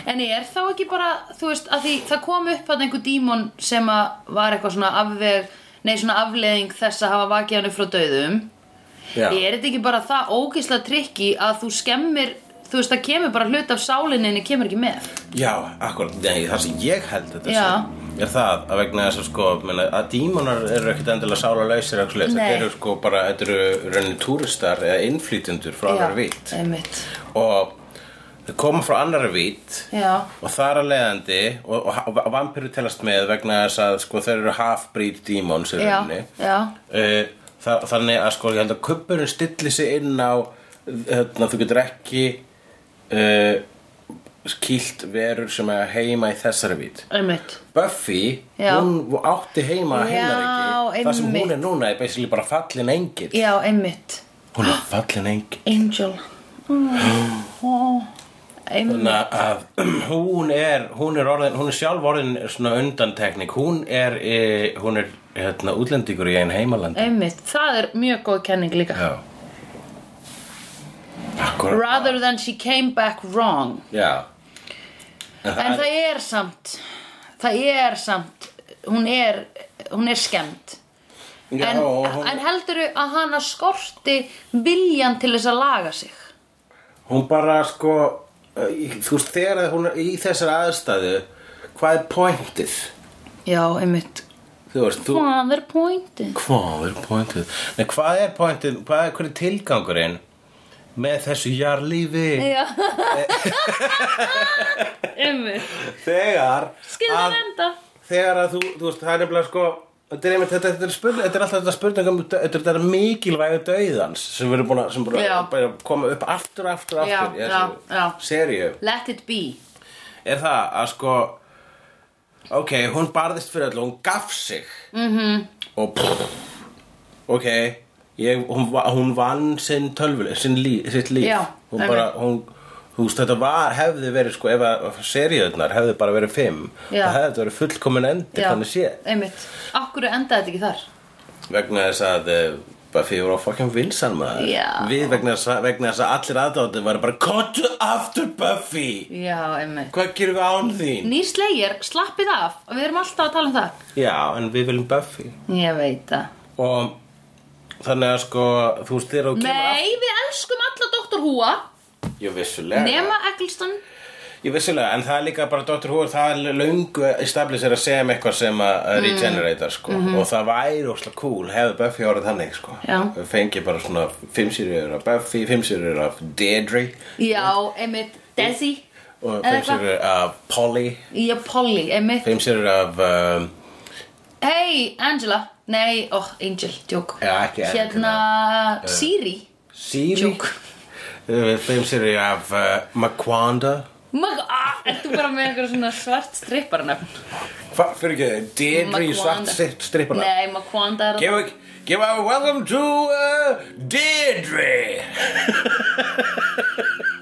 S1: En ég er þá ekki bara, þú veist, að því það kom upp hann einhver dímon sem að var eitthvað svona afveg, nei svona afleðing þess að hafa vakið hann upp frá döðum.
S2: Já.
S1: Er þetta ekki bara það ógeðslega trikki að þú skemmir, þú veist, það kemur bara hlut af sálinni en ég kemur ekki með.
S2: Já, akkurat, nei, það sem ég held þetta
S1: Já.
S2: sem er það að vegna þess að sko, menna, að dímonar eru ekkert endilega sála lausir að slösa,
S1: Nei.
S2: þetta eru sko bara, þetta eru raunin túristar eða innflýtjendur frá annar vít
S1: Einmitt.
S2: og þau koma frá annar vít
S1: Já,
S2: og þar að leiðandi og, og, og vampiru telast með vegna þess að sko þeir eru half-breed dímons í
S1: já,
S2: rauninni.
S1: já,
S2: Eh, þa þannig að sko ég held að kubburinn stilli sig inn á hérna, þú getur ekki uh, kýlt verur sem er heima í þessari vít
S1: einmitt.
S2: Buffy,
S1: Já.
S2: hún átti heima að
S1: Já,
S2: heimaríki, það sem
S1: einmitt.
S2: hún er núna er basically bara fallin engin
S1: Já, einmitt.
S2: hún er fallin engin
S1: Angel. Mm. Oh. einmitt.
S2: Þannig að hún er, hún er, orðin, hún er sjálf orðin svona undantekning, hún er, e, hún er hérna, útlendingur í einn heimalandi.
S1: Einmitt, það er mjög góð kenning líka
S2: Já. Akkur,
S1: Rather than she came back wrong
S2: já.
S1: En það er samt Það er samt Hún er, hún er skemmt
S2: Já,
S1: En,
S2: og hún,
S1: en heldurðu að hana skorti viljan til þess að laga sig?
S2: hún bara sko, eh, í- þú veist þegar að hún er í þessari aðstæðu, hvað er pointið?
S1: Já, einmitt
S2: Þú veist, þú,
S1: Hvað er pointið?
S2: hvað er pointið? Nei, hvað er pointið, hvað er, hver er tilgangurinn með þessu jarlífi?
S1: Já Einmitt
S2: Þegar
S1: Skilðu
S2: að-
S1: enda
S2: þegar að þú, þú veist, það er nefnilega sko þetta er, einmitt, þetta, þetta, er spurning, þetta er alltaf þetta spurning um dau- þetta er þetta mikilvægu dauðans sem við erum búin að, sem búin
S1: Já.
S2: að bara koma upp aftur, aftur,
S1: Já,
S2: aftur
S1: já, já.
S2: seríu
S1: Let it be
S2: er það að sko ok, hún barðist fyrir öllu, hún gaf sig mm
S1: Mhm.
S2: -hmm. og pff, ok ég, hún, va- hún vann sinn tölvuleg sinn líf, sitt líf
S1: Já,
S2: hún
S1: einmitt.
S2: bara, hún Þú veist, þetta var, hefði verið, sko, ef að seríuðnar hefði bara verið fimm,
S1: Já.
S2: það hefði þetta verið fullkomin endir,
S1: Já,
S2: þannig séð.
S1: Einmitt Akkur endaði þetta ekki þar?
S2: vegna þess að eh, Buffy voru á fokkjum vinsan maður
S1: Já.
S2: við vegna þess, að, vegna þess að allir aðdáttir var bara Kottu aftur Buffy
S1: Já, einmitt
S2: hvað gerum við án þín?
S1: Nýr slegir, slappið af Við erum alltaf að tala um það
S2: já, en við viljum Buffy
S1: Ég veit það
S2: og þannig að sko þú veist þegar þú kemur
S1: Nei, við elskum alla Dr. Húa
S2: aftur jú vissulega
S1: Nema Eggleston
S2: jú vissulega en það er líka bara Dr. Who það er löngu establisher að segja um eitthvað sem að
S1: Mm.
S2: að regenerata sko og það væri óslega cool hefði Buffy orðið þannig sko
S1: Mhm. Já.
S2: fengi bara svona fimm sýrjur af Buffy fimm sýrjur af Deirdre
S1: Já, einmitt Desi Eða
S2: og fimm
S1: eitthvað.
S2: sýrjur af Polly
S1: Já, Polly, einmitt
S2: Þeim sér af um,
S1: Hey, Angela Nei, ó, Angel, djók
S2: Já, ekki Angela. Eh.
S1: Hérna, Siri
S2: Siri
S1: Djók
S2: Uh, Þeim sér af uh, Maquanda
S1: Mag, ah, ertu bara með einhver svona svart stripparnöfn
S2: Hvað fyrir ekki, Deirdre í svart
S1: Maquanda.
S2: strippana
S1: Nei, Maquanda er
S2: Give a, give a welcome to uh, Deirdre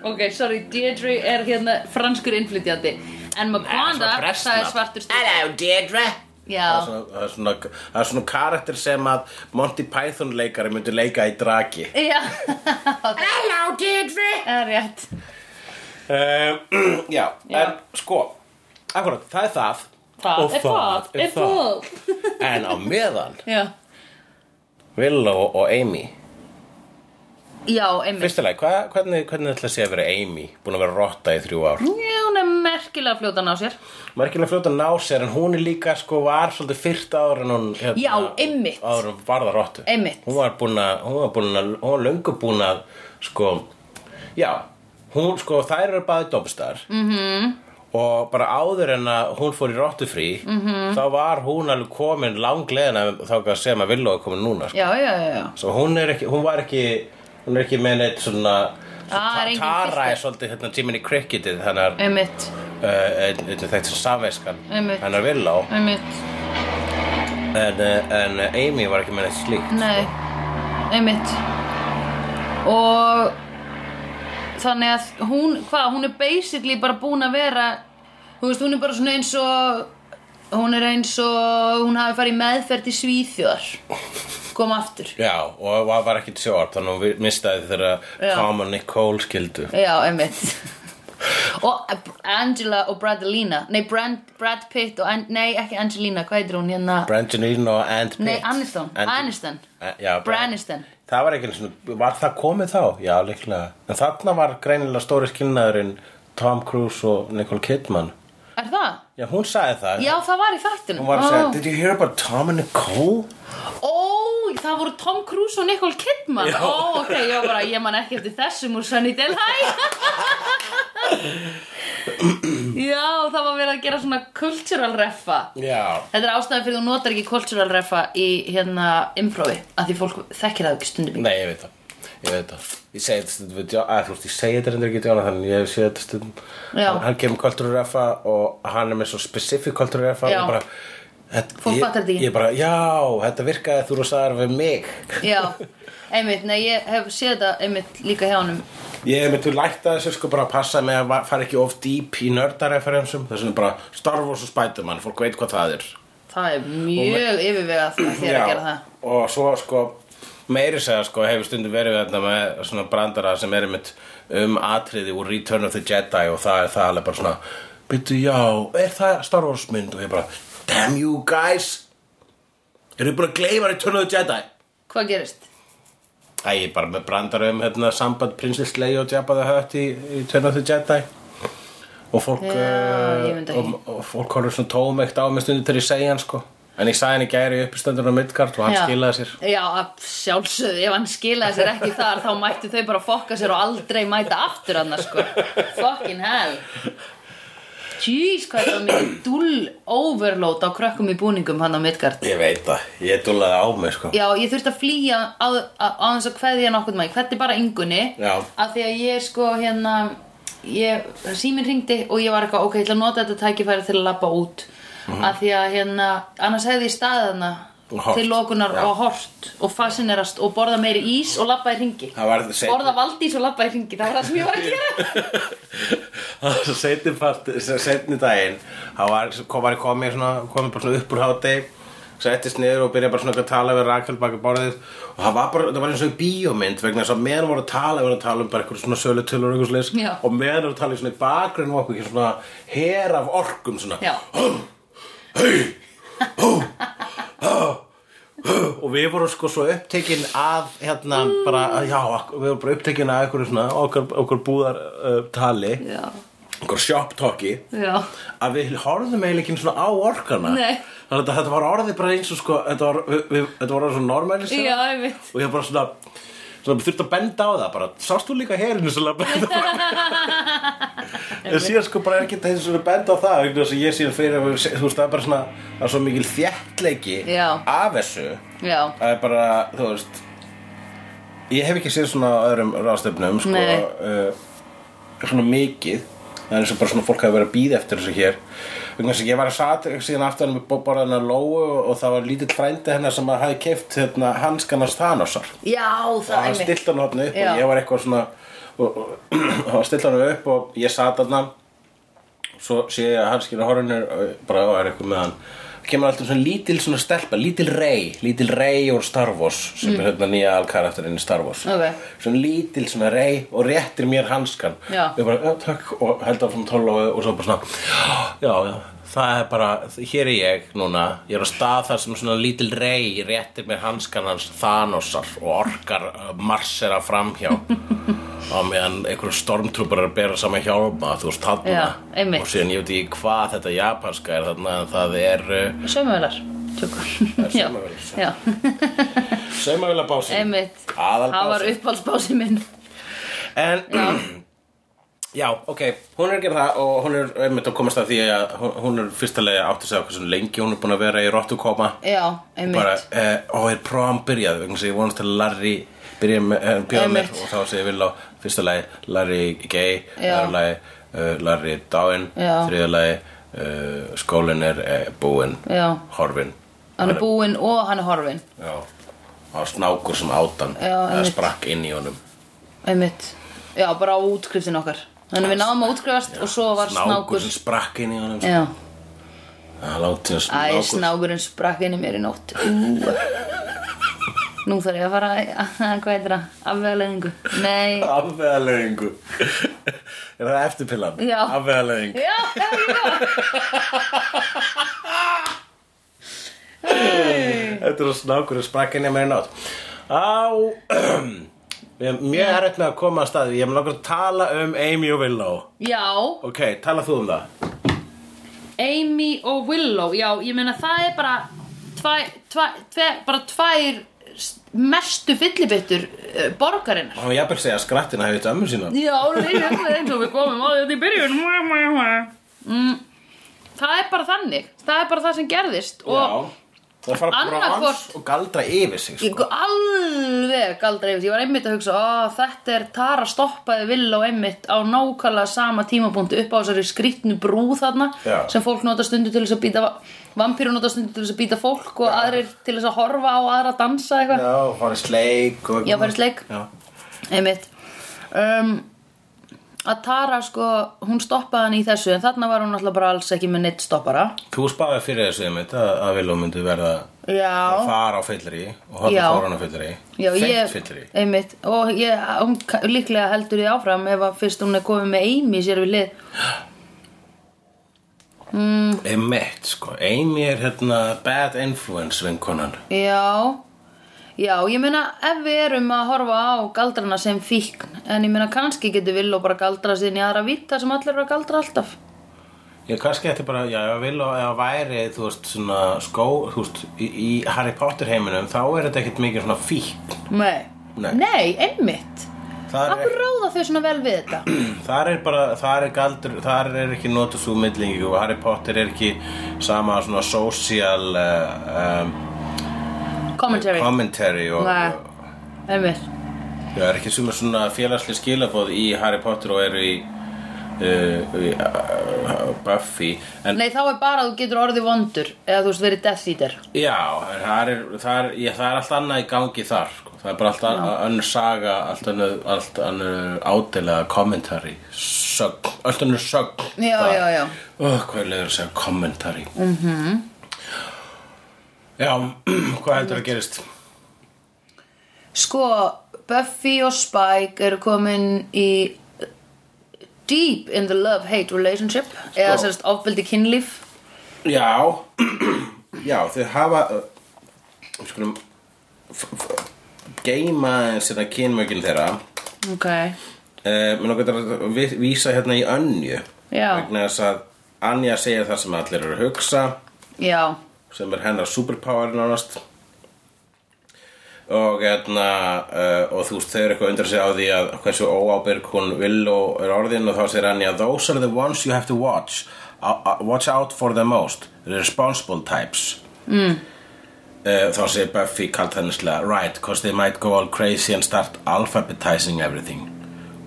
S1: Ok, sorry, Deirdre er hérna franskur innflytjandi En Maquanda,
S2: Nei, svona
S1: það er svartur stripparnöfn
S2: Hello Deirdre Það er
S1: Já,
S2: svona- það er svona- það er svona karakter sem að Monty Python leikari myndi leika í draki
S1: já,
S2: Hello Deirdre
S1: það er rétt
S2: uh, já,
S1: Já.
S2: en sko Akkurat, það er það
S1: Það
S2: Og
S1: er það, Oh, er það
S2: En á meðan
S1: Já,
S2: Willow og Amy
S1: já, einmitt
S2: Fyrstilega, hva, hvernig, hvernig ætla að sé að vera Amy búin að vera rotta í þrjú ár?
S1: Já, hún er merkilega fljótan á sér
S2: Merkilega fljóta að ná sér en hún er líka sko var svolítið fyrst áður en hún hérna,
S1: Já, einmitt.
S2: áður en hún varða rottu
S1: Einmitt.
S2: Hún var búin að, hún var búin að, hún var löngu búin að sko, já hún sko, þær eru bæði dopstar mm
S1: Mhm.
S2: -hmm. og bara áður en að hún fór í rottufrí mm
S1: Mhm.
S2: -hmm. þá var hún alveg komin langleðina þá að sem að vilja að komin núna sko.
S1: Já, já, já, já
S2: Svo hún er ekki, hún var ekki, hún er ekki með neitt svona
S1: Ah, er
S2: ta-
S1: engin
S2: Tara
S1: filter.
S2: er svolítið hérna Jiminy Cricketið þannig að
S1: Einmitt,
S2: uh, einn- einn er þekkt sem samveiskan
S1: Einmitt.
S2: hann er vill á
S1: einmitt,
S2: en, uh, en uh, Amy var ekki með neitt slíkt
S1: nei Einmitt Og Þannig að hún, hvað, hún er basically bara búin að vera Þú veist, hún er bara svona eins og Hún er eins og Hún hafi farið í meðferð til Svíþjóðar Kom aftur
S2: Já, og það var ekki sjóart þannig að hún mistaði þegar
S1: Já.
S2: Tom og Nicole skildu
S1: Já, einmitt Og Angela og Bradalina Nei, Brand, Brad Pitt og An Nei, ekki Angelina, hvað heitir hún hérna?
S2: Brangelino og Ann Pitt
S1: Nei, Aniston
S2: And-
S1: Aniston
S2: Eh, Já, Bran-
S1: Braniston
S2: Það var ekki einu svona, var það komið þá? Já, líklega En þarna var greinilega stóri skilnaðurinn Tom Cruise og Nicole Kidman
S1: Er það?
S2: Já, hún sagði það
S1: Já, það var í þættunum
S2: Hún var að segja,
S1: Ó.
S2: did you hear about Tom and Nicole?
S1: Ó, það voru Tom Cruise og Nicole Kidman
S2: Já.
S1: Ó, ok, ég var bara, ég man ekki eftir þessum úr Sunnydale High Já, það var verið að gera svona cultural reffa
S2: Já
S1: Þetta er ástæðan fyrir þú notar ekki cultural reffa í hérna improvi að því fólk þekkir það ekki stundum í
S2: Nei, ég veit það Ég veit það Ég segi þetta stundum við John að, Þú veist, ég segi þetta reyndir ekki við John Þannig ég hef séð þetta stundum
S1: Já.
S2: Hann- Hann kemur kultúru refa og hann er með svo specific kultúru refa
S1: Já.
S2: og bara þetta-
S1: Fólk
S2: ég-
S1: fattar þetta ekki.
S2: Ég bara, já, þetta virkaði þú rosaðar við mig
S1: Já, einmitt, nei, ég hef séð þetta einmitt líka hjá honum
S2: Ég myndi lætta þessu sko bara að passa með að va- fara ekki of deep í nördareferensum Þess vegna bara Star Wars og Spiderman, fólk veit hvað það er
S1: Það er mjög yfirvegað þér að gera það
S2: og svo sko meiri segja sko hefur stundum verið þetta með svona brandara sem er einmitt um atriði úr Return of the Jedi og það er það alveg bara svona byrju já, er það Star Wars mynd og ég bara, damn you guys eru þið búin að gleyma Return of the Jedi
S1: Hvað gerist?
S2: Æ, ég er bara með brandara um hérna, samband prinsins Leia og Jabba the Hutt í, í Return of the Jedi og fólk
S1: Já,
S2: eh,
S1: ég myndi ekki.
S2: og, og fólk horfður svona tómægt á mig stundum til ég segja hann sko en ég sagði hann í gæri uppstandunum Midgard og hann
S1: Já.
S2: skilaði sér
S1: Já, að sjálfsögðu, ef hann skilaði sér ekki þar þá mættu þau bara fokka sér og aldrei mæta aftur hann sko. Fucking hell Jeez, hvað þetta var mikið dull overload á krökkum í búningum hann á Midgard
S2: Ég veit það, ég dúlaði á mig sko
S1: Já, ég þurfti að flýja á, á, á þess að kveðja nokkuð maður Hvernig bara yngunni
S2: Já.
S1: Af því að ég sko hérna ég, Síminn ringdi og ég var eitthvað Ok, ég ætla að nota þetta tækifæri til að labba út Af því að hérna Annars hefði ég staðið hana
S2: Mhm. Og horft.
S1: Til lokunar
S2: Já.
S1: og hort Og fascinerast og borða meiri ís og labba í ringi
S2: Það var þetta seinni-
S1: Borða valdís og labba í ringi Það var það sem ég var að gera
S2: Það var svo setni, part, setni daginn Það var, kom, var ég komið svona, komið bara svona upp úr háti Settist niður og byrjaði bara svona að tala við Rakel baki borðið Og það var bara, það var eins og í bíómynd Vegna þess að meðan voru að tala, voru að tala um bara eitthvað svona sölutölur og eitthvað slis
S1: Já.
S2: Og meðan voru að tala í svona í bakgrunn og okkur ekki svona her af orkum svona
S1: Já,
S2: og við vorum sko svo upptekinn að hérna bara, já, við vorum bara upptekinn að einhverju svona okkur, okkur búðar uh, tali,
S1: já,
S2: okkur shop talki
S1: já
S2: að við horfðum eiginlega ekki svona á orkana
S1: Nei.
S2: þannig að þetta var orðið bara eins og sko þetta var, við, við, þetta var orðið svona normælis
S1: Já, ég veit
S2: og ég bara svona, svona þurfti að benda á það bara, sást þú líka herinu svona að benda á það en síðan sko bara ekki þetta eins og að benda á það vegna þess að ég síðan fyrir að við- þú veist það er bara svona það er svo mikil þjættleiki
S1: Já.
S2: af þessu
S1: Já,
S2: það er bara, þú veist ég hef ekki séð svona á öðrum ráðstöfnum sko,
S1: Nei.
S2: uh, svona mikið það er eins og bara svona fólk hafi verið að býða eftir þessu hér vegna þess að ég var að sat síðan aftan með bóborðan að lóu og það var lítill frændi hennar sem að hafi keft hérna, hanskanast Thanosar
S1: já,
S2: og
S1: það
S2: hann
S1: er mitt
S2: stilt hann hann upp
S1: Já.
S2: og ég var eitthvað svona og, og, og hann stilt hann upp og ég sat hann svo sé ég að hann skilja horfinir bara og er eitthvað með hann það kemur alltaf svona lítil svona stelpa lítil rey, lítil rey úr Star Wars sem er hérna nýja alkarakterinn í Star Wars
S1: Mm. Ok.
S2: svona lítil svona rey og réttir mér hanskan
S1: Já.
S2: ég bara, já, takk, og held áfram tólu og, og svo bara svona, já, já það er bara, hér er ég núna ég er á stað þar sem svona lítil rey réttir mér hanskan hans Thanosar og orkar uh, marsera framhjá á meðan einhverjum stormtrúpar er að bera saman hjálma þú veist, þarna
S1: Já, einmitt.
S2: og síðan ég veit ekki hvað þetta japanska er þarna en það er uh,
S1: Saumavélar Tjókur Já,
S2: saumavélar.
S1: já
S2: saumavélag básin
S1: Einmitt,
S2: Aðalbásinn.
S1: það var uppáhaldsbási minn
S2: en Já, ok, hún er að gera það og hún er einmitt að komast að því að hún- hún er fyrstilega átt að segja hversu lengi hún er búin að vera í rottukoma
S1: Já, einmitt
S2: bara, eh, og er prófam byrjað vegna þess að ég vonast að Larry byrja með, eh, byrja með
S1: Einmitt.
S2: og þá segir Villó fyrsta lagi Larry gay,
S1: Já.
S2: öðru lagi uh, Larry dáin,
S1: Já.
S2: þriða lagi uh, skólin er eh, búinn
S1: Já.
S2: horfin
S1: Hann er búinn og hann er horfinn
S2: Já. það var snákur sem átan
S1: Já,
S2: það
S1: einmitt.
S2: sprakk inn í honum
S1: Einmitt Já, bara á útskriftin okkar Þannig við náðum að útskrifast og svo var snákur
S2: sem sprakk inn í honum
S1: Já,
S2: það láti
S1: æ,
S2: hann snákur
S1: snákurinn sprakk inn í mér í nótt Ú. Nú þarf ég að fara í- Hvað heitir það? Afvegaleiðingu Nei
S2: afveðalöðingu er það eftirpillan?
S1: Já.
S2: afveðalöðing
S1: Já, já, Mm.
S2: Þetta er að snákur að sprakka inn í mér í nátt Á Við erum mjög erfitt með að koma að staði Ég er með langar að tala um Amy og Willow
S1: já
S2: Ok, tala þú um það
S1: Amy og Willow já, ég meina það er bara tvæ, tvæ, tvæ, bara tvær s- mestu fyllibittur uh, borgarinnar
S2: Og ég byrja að segja að skrattina hefði þetta ömmu sína
S1: já, það er eins og við komum á þetta í byrjun mm, það er bara þannig það er bara það sem gerðist og
S2: Já Það fara bara
S1: Annað
S2: hans og galdra yfir sig
S1: ég
S2: sko.
S1: alveg galdra yfir ég var einmitt að hugsa, ó, þetta er Tara stoppaði Willow einmitt á nákvæmlega sama tímapunkti upp á þessari skrýtnu brú þarna
S2: Já.
S1: sem fólk nota stundu til þess að býta vampíru nota stundu til þess að býta fólk og aðrir til þess að horfa á aðra að dansa eitthvað
S2: Já, farið sleik og
S1: Já, fara í sleik.
S2: Já
S1: einmitt um, að Tara sko, hún stoppaði hann í þessu en þarna var hún alltaf bara alls ekki með neitt stoppara
S2: Þú spáði fyrir þessu einmitt að, að Villó myndi verða að
S1: Já,
S2: fara á fyllri og hann
S1: Já.
S2: fór hann á fyllri
S1: já ég,
S2: fyllri
S1: einmitt og ég, hún ka- líklega heldur því áfram ef að fyrst hún er komið með Amy sér við lið
S2: Emmett sko, Amy er hérna bad influence vinkonan
S1: Já, já, ég meina ef við erum að horfa á galdrana sem fíkn en ég meina kannski getur vill og bara galdra sinni aðra vita sem allir eru að galdra alltaf
S2: Ég kannski ætti bara, já, ef Villó eða væri, þú veist, svona skó, þú veist, í, í Harry Potter heiminum þá er þetta ekkert mikið svona fíkn
S1: Nei,
S2: Nei.
S1: einmitt
S2: Það er
S1: Akkur ráða þau svona vel við þetta
S2: Þar er bara, þar er galdur, þar er ekki notuð svo millingi og Harry Potter er ekki sama svona social uh, um,
S1: Commentary,
S2: commentary og
S1: Nei, einmitt
S2: það er ekki svona, svona félagslega skilabóð í Harry Potter og eru í, uh, í uh, Buffy en
S1: Nei, þá er bara að þú getur orðið vondur eða þú veist verið Death Eater
S2: já, þar er, þar, ég, það er allt annað í gangi þar sko. það er bara allt annað, önnur saga allt annað, allt annað ádelega commentary sögn, allt annað sögn
S1: Já,
S2: þar.
S1: já, já. Mhm.
S2: Ó, hvað er leiður að segja commentary mm já, hvað heldur að gerist
S1: Sko, Buffy og Spike eru komin í Deep in the love-hate relationship eða sérst ofbeldi kynlíf
S2: Já Já, þau hafa Við skulum f- f- Geima Sérna kynmökin þeirra
S1: Ok,
S2: uh, Mér nokkar að vi- vísa hérna í önju
S1: Já.
S2: Vegna þess að Anja segir það sem allir eru að hugsa
S1: já
S2: Sem er hennar superpower nánast Og hérna uh, Og þú veist þau eru eitthvað að undra sig á því að Hversu óábyrg hún vil og er orðin Og þá segir Anja Those are the ones you have to watch Uh, uh, Watch out for the most Responsible types Uh, þá segir Buffy kallt hennislega Right, cause they might go all crazy and start alphabetizing everything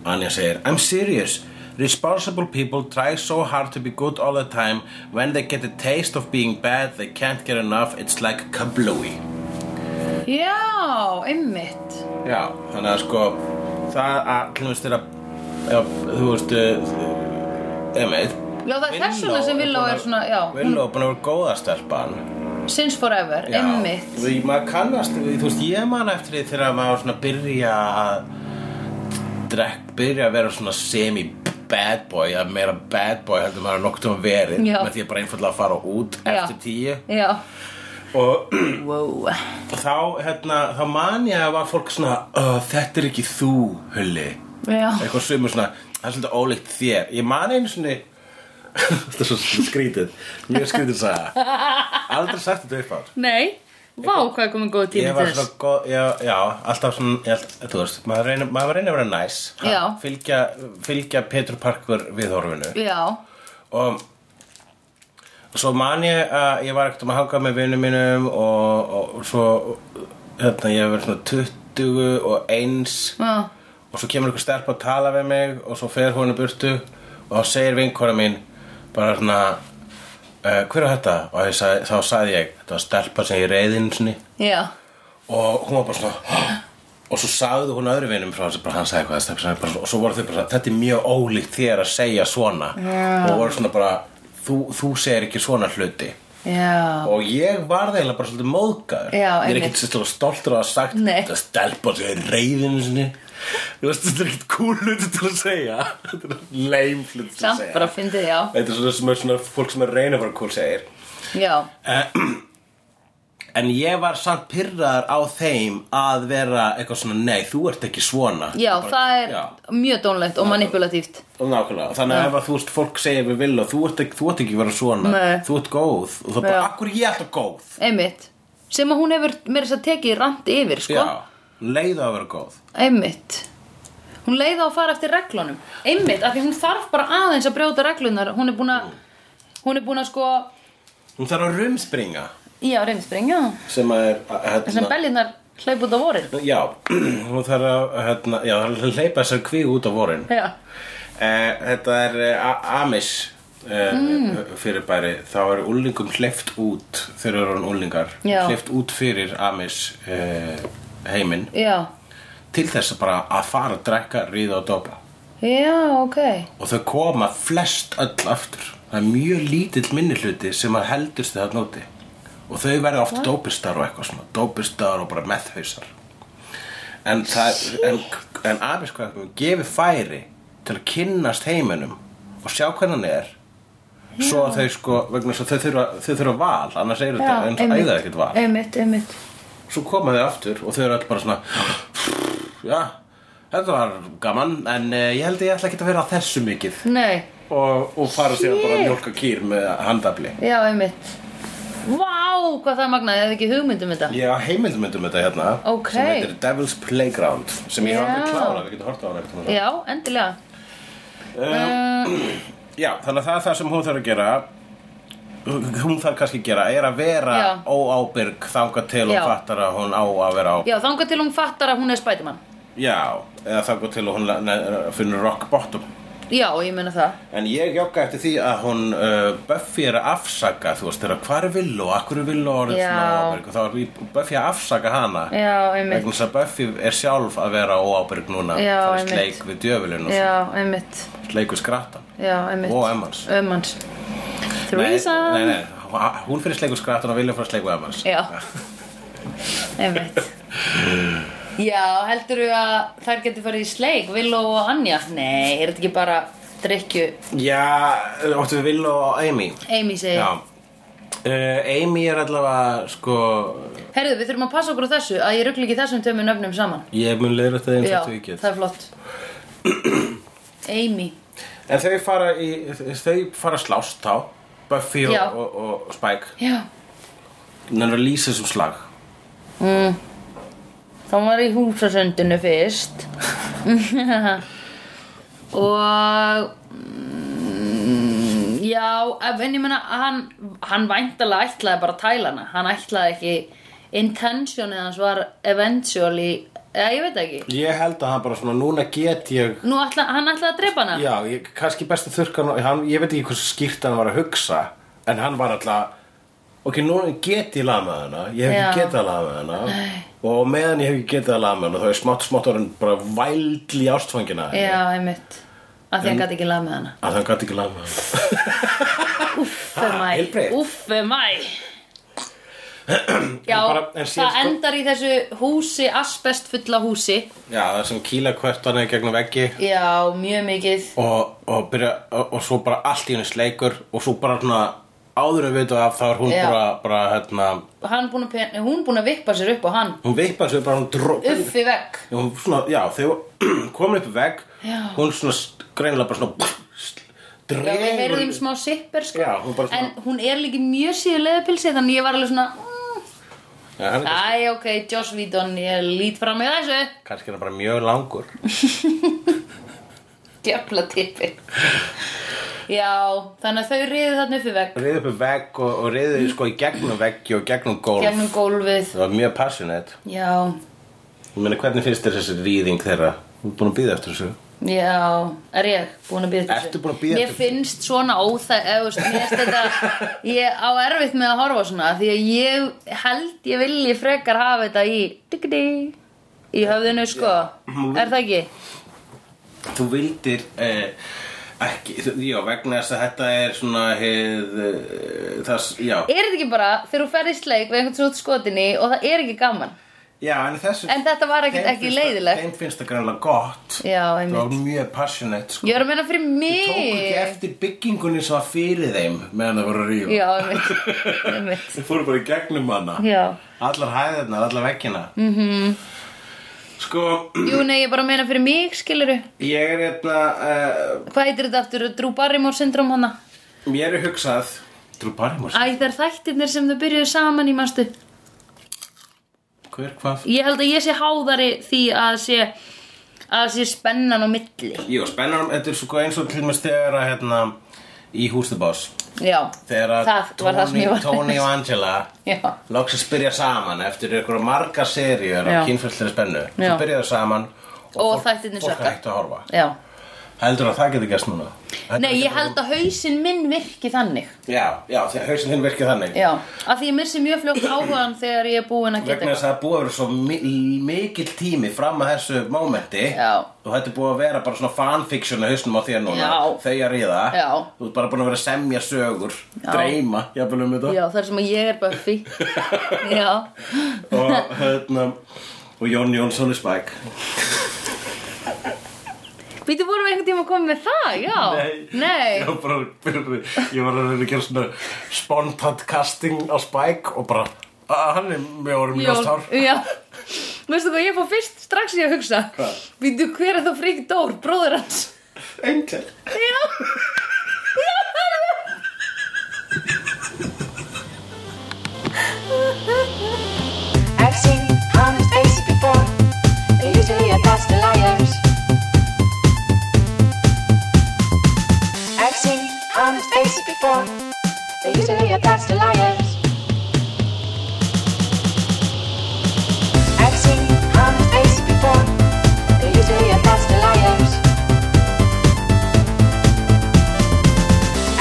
S2: Anja segir, I'm serious Responsible people try so hard to be good all the time When they get a taste of being bad They can't get enough, it's like kablooey
S1: Já, einmitt
S2: Já, þannig að sko Það að, til dæmis þeirra já, Þú eh, veist Emið
S1: Já, það er þess vegna sem Villó er svona, já, hún,
S2: Villó er búin að vera góða stelpan
S1: since forever,
S2: Já,
S1: einmitt.
S2: Því maður kannast, við- þú veist, ég man eftir því þegar maður svona byrja að drekk, byrja að vera svona semi bad boy, að meira bad boy heldur maður nokkuð um verið,
S1: Já.
S2: með því að bara einfallega að fara út eftir tíu
S1: Já,
S2: og
S1: wow.
S2: þá, hérna, þá man ég að var fólk svona, "Ö, þetta er ekki þú, Hulli
S1: Já,
S2: eitthvað sumur svona, það er svolítið ólíkt þér ég man einu svona þetta er svo skrítið, mjög skrítið sagði aldrei sagt þetta upp átt
S1: nei, vá, hvað er komin góð tími
S2: Ég var
S1: til
S2: svona
S1: þess.
S2: góð, já, já, alltaf svona, ég, held- þú veist, maður reynir, maður reynir að vera næs ha,
S1: Já.
S2: Fylgja, fylgja Petru Parkur við horfinu
S1: Já,
S2: Og svo man ég að ég var ekkert um að hanga með vinnum mínum Og, og svo, hérna, ég hef verið svona 20 og 1
S1: já,
S2: Og svo kemur einhver stelpa að tala við mig Og svo fer hún í burtu Og þá segir vinkona mín bara svona Uh, hver er þetta? Og ég sag, þá sagði ég, þetta var stelpa sem ég reyðin sinni
S1: já,
S2: og hún var bara svona "Hah?" og svo sagði hún öðru vinum frá þessu bara hann sagði hvað þessi bara, og svo voru þau bara svona, þetta er mjög ólíkt þér að segja svona
S1: Já.
S2: og voru svona bara þú, þú segir ekki svona hluti
S1: já,
S2: og ég var það eiginlega bara svolítið móðgæður
S1: Já,
S2: ég er
S1: einmitt.
S2: ekkert svolítið stoltur að hafa sagt
S1: Nei.
S2: þetta stelpa sig reyðinu sinni þú veist þetta er ekkert cool hluti til að segja þetta er leim hluti til að
S1: samt
S2: segja
S1: bara fyndið, já,
S2: þetta er svona, svona, svona fólk sem er að reyna að fara cool segir
S1: já,
S2: En ég var samt pyrraðar á þeim að vera eitthvað svona, nei, þú ert ekki svona.
S1: já,
S2: Bara-
S1: það er
S2: Já,
S1: mjög dónlegt og manipulatíft.
S2: og nákvæmlega. Þannig að ef að þú veist, fólk segir við vilja, þú ert ekki, þú ert ekki vera svona,
S1: Nei.
S2: þú ert góð. Og það
S1: Já.
S2: bara, akkur er ég alltaf góð?
S1: Einmitt, sem að hún hefur meira þess að tekið rand yfir, sko.
S2: Já, leiða að vera góð.
S1: Einmitt. Hún leiði á að fara eftir reglunum. Einmitt, af því hún þarf bara aðeins að brjóta reglunar. Hún er búin að, hún er búin að sko,
S2: Hún þarf að rumspringa,
S1: já, reynspringa, já.
S2: sem að er, að-
S1: Þess að
S2: hérna,
S1: bellinar hlaup út á vorin
S2: já, hún þarf að, hérna, já, að leipa þessar kvíð út á vorin.
S1: Já,
S2: Eh, þetta er eh, Amish eh, fyrirbæri þá er úlingum hleyft út þegar eru hann úlingar
S1: Já.
S2: hleyft út fyrir Amish eh, heiminn
S1: já,
S2: til þess að bara að fara að drekka, ríða og dopa
S1: já, ok
S2: og þau koma flest öll aftur það er mjög lítill minnihluti sem að heldur þau að nóti og þau verða oft dópistar og eitthvað svona dópistar og bara methausar en, það, en, en abiskvæðum gefi færi til að kynnast heiminum og sjá hvernig hann er svo að þau sko vegna þess að þau þurfa, þau þurfa val annars er
S1: já,
S2: þetta eins og æða ekkert val
S1: einmitt, einmitt
S2: svo koma þau aftur og þau eru alltaf bara svona já, þetta var gaman en uh, ég held að ég ætla ekki að vera á þessu mikið
S1: nei,
S2: og, og fara síðan bara að
S1: Shit.
S2: mjólka kýr með handafli
S1: já, einmitt vá, hvað það er magnaði, ég hef ekki hugmyndum þetta
S2: ég á heimildmyndum þetta hérna
S1: Ok.
S2: sem heitir Devil's Playground sem ég hef aldrei
S1: Já.
S2: klárað, við getum horta á hana eitthvað
S1: já, endilega
S2: já, þannig að það er það sem hún þarf að gera hún þarf kannski að gera er að vera
S1: Já.
S2: óábyrg þangað
S1: Já.
S2: til hún fattar að hún á að vera á
S1: já, þangað til hún fattar að hún er spætumann
S2: já, eða þangað til hún le- ne- finnur rock bottom
S1: já, ég meina það
S2: En ég jogga eftir því að hún uh, Buffy er að afsaka, þú veist, þeirra hvar er Villó, akkur er Villó orðið
S1: Já.
S2: svona ábyrg og þá er í- Buffy að afsaka hana
S1: já,
S2: vegna
S1: einmitt,
S2: þess að Buffy er sjálf að vera óábyrg núna
S1: Já,
S2: það er
S1: einmitt.
S2: sleik við djöfulinn og
S1: já, einmitt
S2: sleik við skrattan
S1: já, einmitt
S2: og Emmans
S1: ömmans
S2: nei,
S1: threesome
S2: nei, nei, hún fyrir sleik við skrattan og Villó fyrir sleik við Emmans
S1: Já Einmitt Já, heldurðu að þær geti farið í sleik Villó og Anja? Nei, er þetta ekki bara drikju
S2: Já, óttu við Villó og Amy
S1: Amy segir
S2: Já Uh, Amy er allavega sko
S1: Herðu, við þurfum að passa okkur á þessu að ég rugli ekki þessum tömmu nöfnum saman
S2: ég mun leiður þetta eins
S1: Já,
S2: og þú ekki
S1: það er flott Amy
S2: En þau fara, í, þau fara að slást þá Buffy og,
S1: Já.
S2: og, og Spike
S1: Já,
S2: Nennar að lýsa þessum slag
S1: það var í húsasöndinu fyrst Og mm, Já, ef- en ég meina hann, hann væntalega ætlaði bara að tæla hana Hann ætlaði ekki Intentionið hans var eventually Eða ég veit ekki
S2: Ég held að hann bara svona, núna get ég
S1: Nú ætla, hann ætlaði að drepa hana
S2: Já, ég, kannski best að þurrka hann, hann Ég veit ekki hversu skýrt hann var að hugsa En hann var alltaf Ok, núna get ég lamað hana Ég hef ekki
S1: Já.
S2: getað lamað hana Og á meðan ég hef ekki getað lamað hana Þá er smátt smátt orðin bara vældli ástfangina
S1: Já, einmitt Af því hann gæti ekki lað með hana
S2: Að hann gæti ekki lamað hana
S1: Uffe
S2: Ha,
S1: mæ,
S2: heilbrigt.
S1: uffe mæ Já,
S2: En bara- en síðan
S1: það
S2: sko-
S1: endar í þessu húsi, asbest fulla húsi
S2: Já, það sem kýla hvert hann er gegnum veggi
S1: Já, mjög mikið
S2: og, og, byrja, og, og svo bara allt í henni sleikur og svo bara svona áður að vita af þá er hún
S1: Já.
S2: bara, bara hérna,
S1: Hann búin að, pen- nei, Hún búin að vippa sér upp á hann
S2: hún veipar sig bara hún dró
S1: Uffi vekk
S2: hún svona, já, þegar hún komin upp í vegg
S1: Já.
S2: hún svona st- greinilega bara svona sl-
S1: Já,
S2: dregur
S1: við heyrðum smá sipper sko
S2: Já, hún bara svona-
S1: En hún er líka í mjög síður leðupilsi Þannig ég var alveg svona mm,
S2: Já, hann er kannski-
S1: Æ, ok, Joss Whedon, ég lít fram með þessu
S2: kannski er hann bara mjög langur
S1: Djöfla tippi Já, þannig að þau riðu þarna uppi vekk
S2: reyði upp í vegg og, og reyði sko í gegnum veggi og gegnum gólf
S1: Gegnum gólfið
S2: það var mjög passionate
S1: Já,
S2: ég meina hvernig finnst þér þessi rýðing þeirra þú er búin að býða eftir þessu
S1: Já, er ég búin að býða
S2: Ertu búin að bíða
S1: Mér
S2: eftir þessu?
S1: finnst svona óþæg eða, þú veist, Mér finnst þetta Ég á erfitt með að horfa á svona Því að ég held ég vilji frekar hafa þetta í Digdi Í höfðinu sko Er það ekki?
S2: þú vildir eh, ekki, þú- já, vegna þess að þetta er svona heið, eh, það, já,
S1: Er þetta ekki bara þegar þú ferð í sleik Við einhvern svo út skotinni og það er ekki gaman
S2: já, en þessu
S1: En þetta var ekkert
S2: þeim
S1: ekki
S2: finnst það-
S1: leiðilegt
S2: þeim finnst það grannlega gott
S1: Já,
S2: það
S1: einmitt
S2: var mjög passionate sko.
S1: Ég er að menna fyrir
S2: tóku ekki
S1: mig
S2: eftir byggingunni sem var fyrir þeim meðan það voru að rífa
S1: Já, einmitt, einmitt.
S2: Þeir fóru bara í gegnum hana
S1: Já. Mhm.
S2: allar hæðirnar, allar vekkina mm -hmm. sko,
S1: Jú, nei, ég bara meina fyrir mig, skilurðu
S2: ég er hérna uh,
S1: Hvað heitir þetta aftur? Drew Barrymore syndrom hana?
S2: mér er hugsað Drú Barrymore,
S1: Æ, það er þættirnir sem þau byrjuðu saman í manstu.
S2: hver hvað?
S1: Ég held að ég sé háðari því að sé, að sé spennan á milli.
S2: Jú, spennan, þetta er svo eins og til með stegur að hérna í Who's the Boss
S1: Já,
S2: þegar að
S1: það var það sem
S2: Tony,
S1: ég var.
S2: Tony og Angela
S1: Já,
S2: loks að spyrja saman eftir ykkur marga seríur
S1: Já.
S2: af kynfærslega spennu
S1: Já.
S2: svo byrja það saman
S1: Og
S2: fólk,
S1: þættirnir
S2: fólk
S1: sökka.
S2: hættu að horfa
S1: já,
S2: Heldur að það getur gæst núna? Heldur
S1: Nei,
S2: að
S1: ég
S2: geti-
S1: held að hausinn minn virki þannig
S2: Já, já, þegar hausin hinn virkið þannig
S1: Já, af því ég missi mjög fljótt áhugan þegar ég er búin að geta
S2: Vegna þess að það er búið að vera svo mi- mikill tími fram að þessu mómenti
S1: Já.
S2: Og þetta er búið að vera bara svona fanfiction á hausnum á þér núna
S1: Já.
S2: Þegar í það
S1: Já.
S2: Þú ert bara búin að vera að semja sögur
S1: Já.
S2: Dreima, jafnvel um þetta
S1: Já, þar sem að ég er Buffy Já,
S2: Og hérna Og Jón Jónsson er spæk
S1: býttu vorum við einhvern tíma að koma með það, já
S2: Ég var bara Ég var að reyna að gera svona Spontant casting á spæk Og bara, að hann er mjög orðum mjög
S1: Jón,
S2: stár
S1: já Veistu hvað, ég fór fyrst strax ég að hugsa
S2: Hvað?
S1: Býttu hver er þá frík Dór, bróður hans
S2: Engel
S1: Já
S3: I've seen honest faces before. They're usually a pass to liars. I've seen honest faces before. They're usually a pass to liars. I've seen honest faces before. They're usually a pass to liars.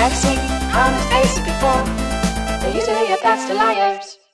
S3: I've seen honest faces before. They're usually a pass to liars.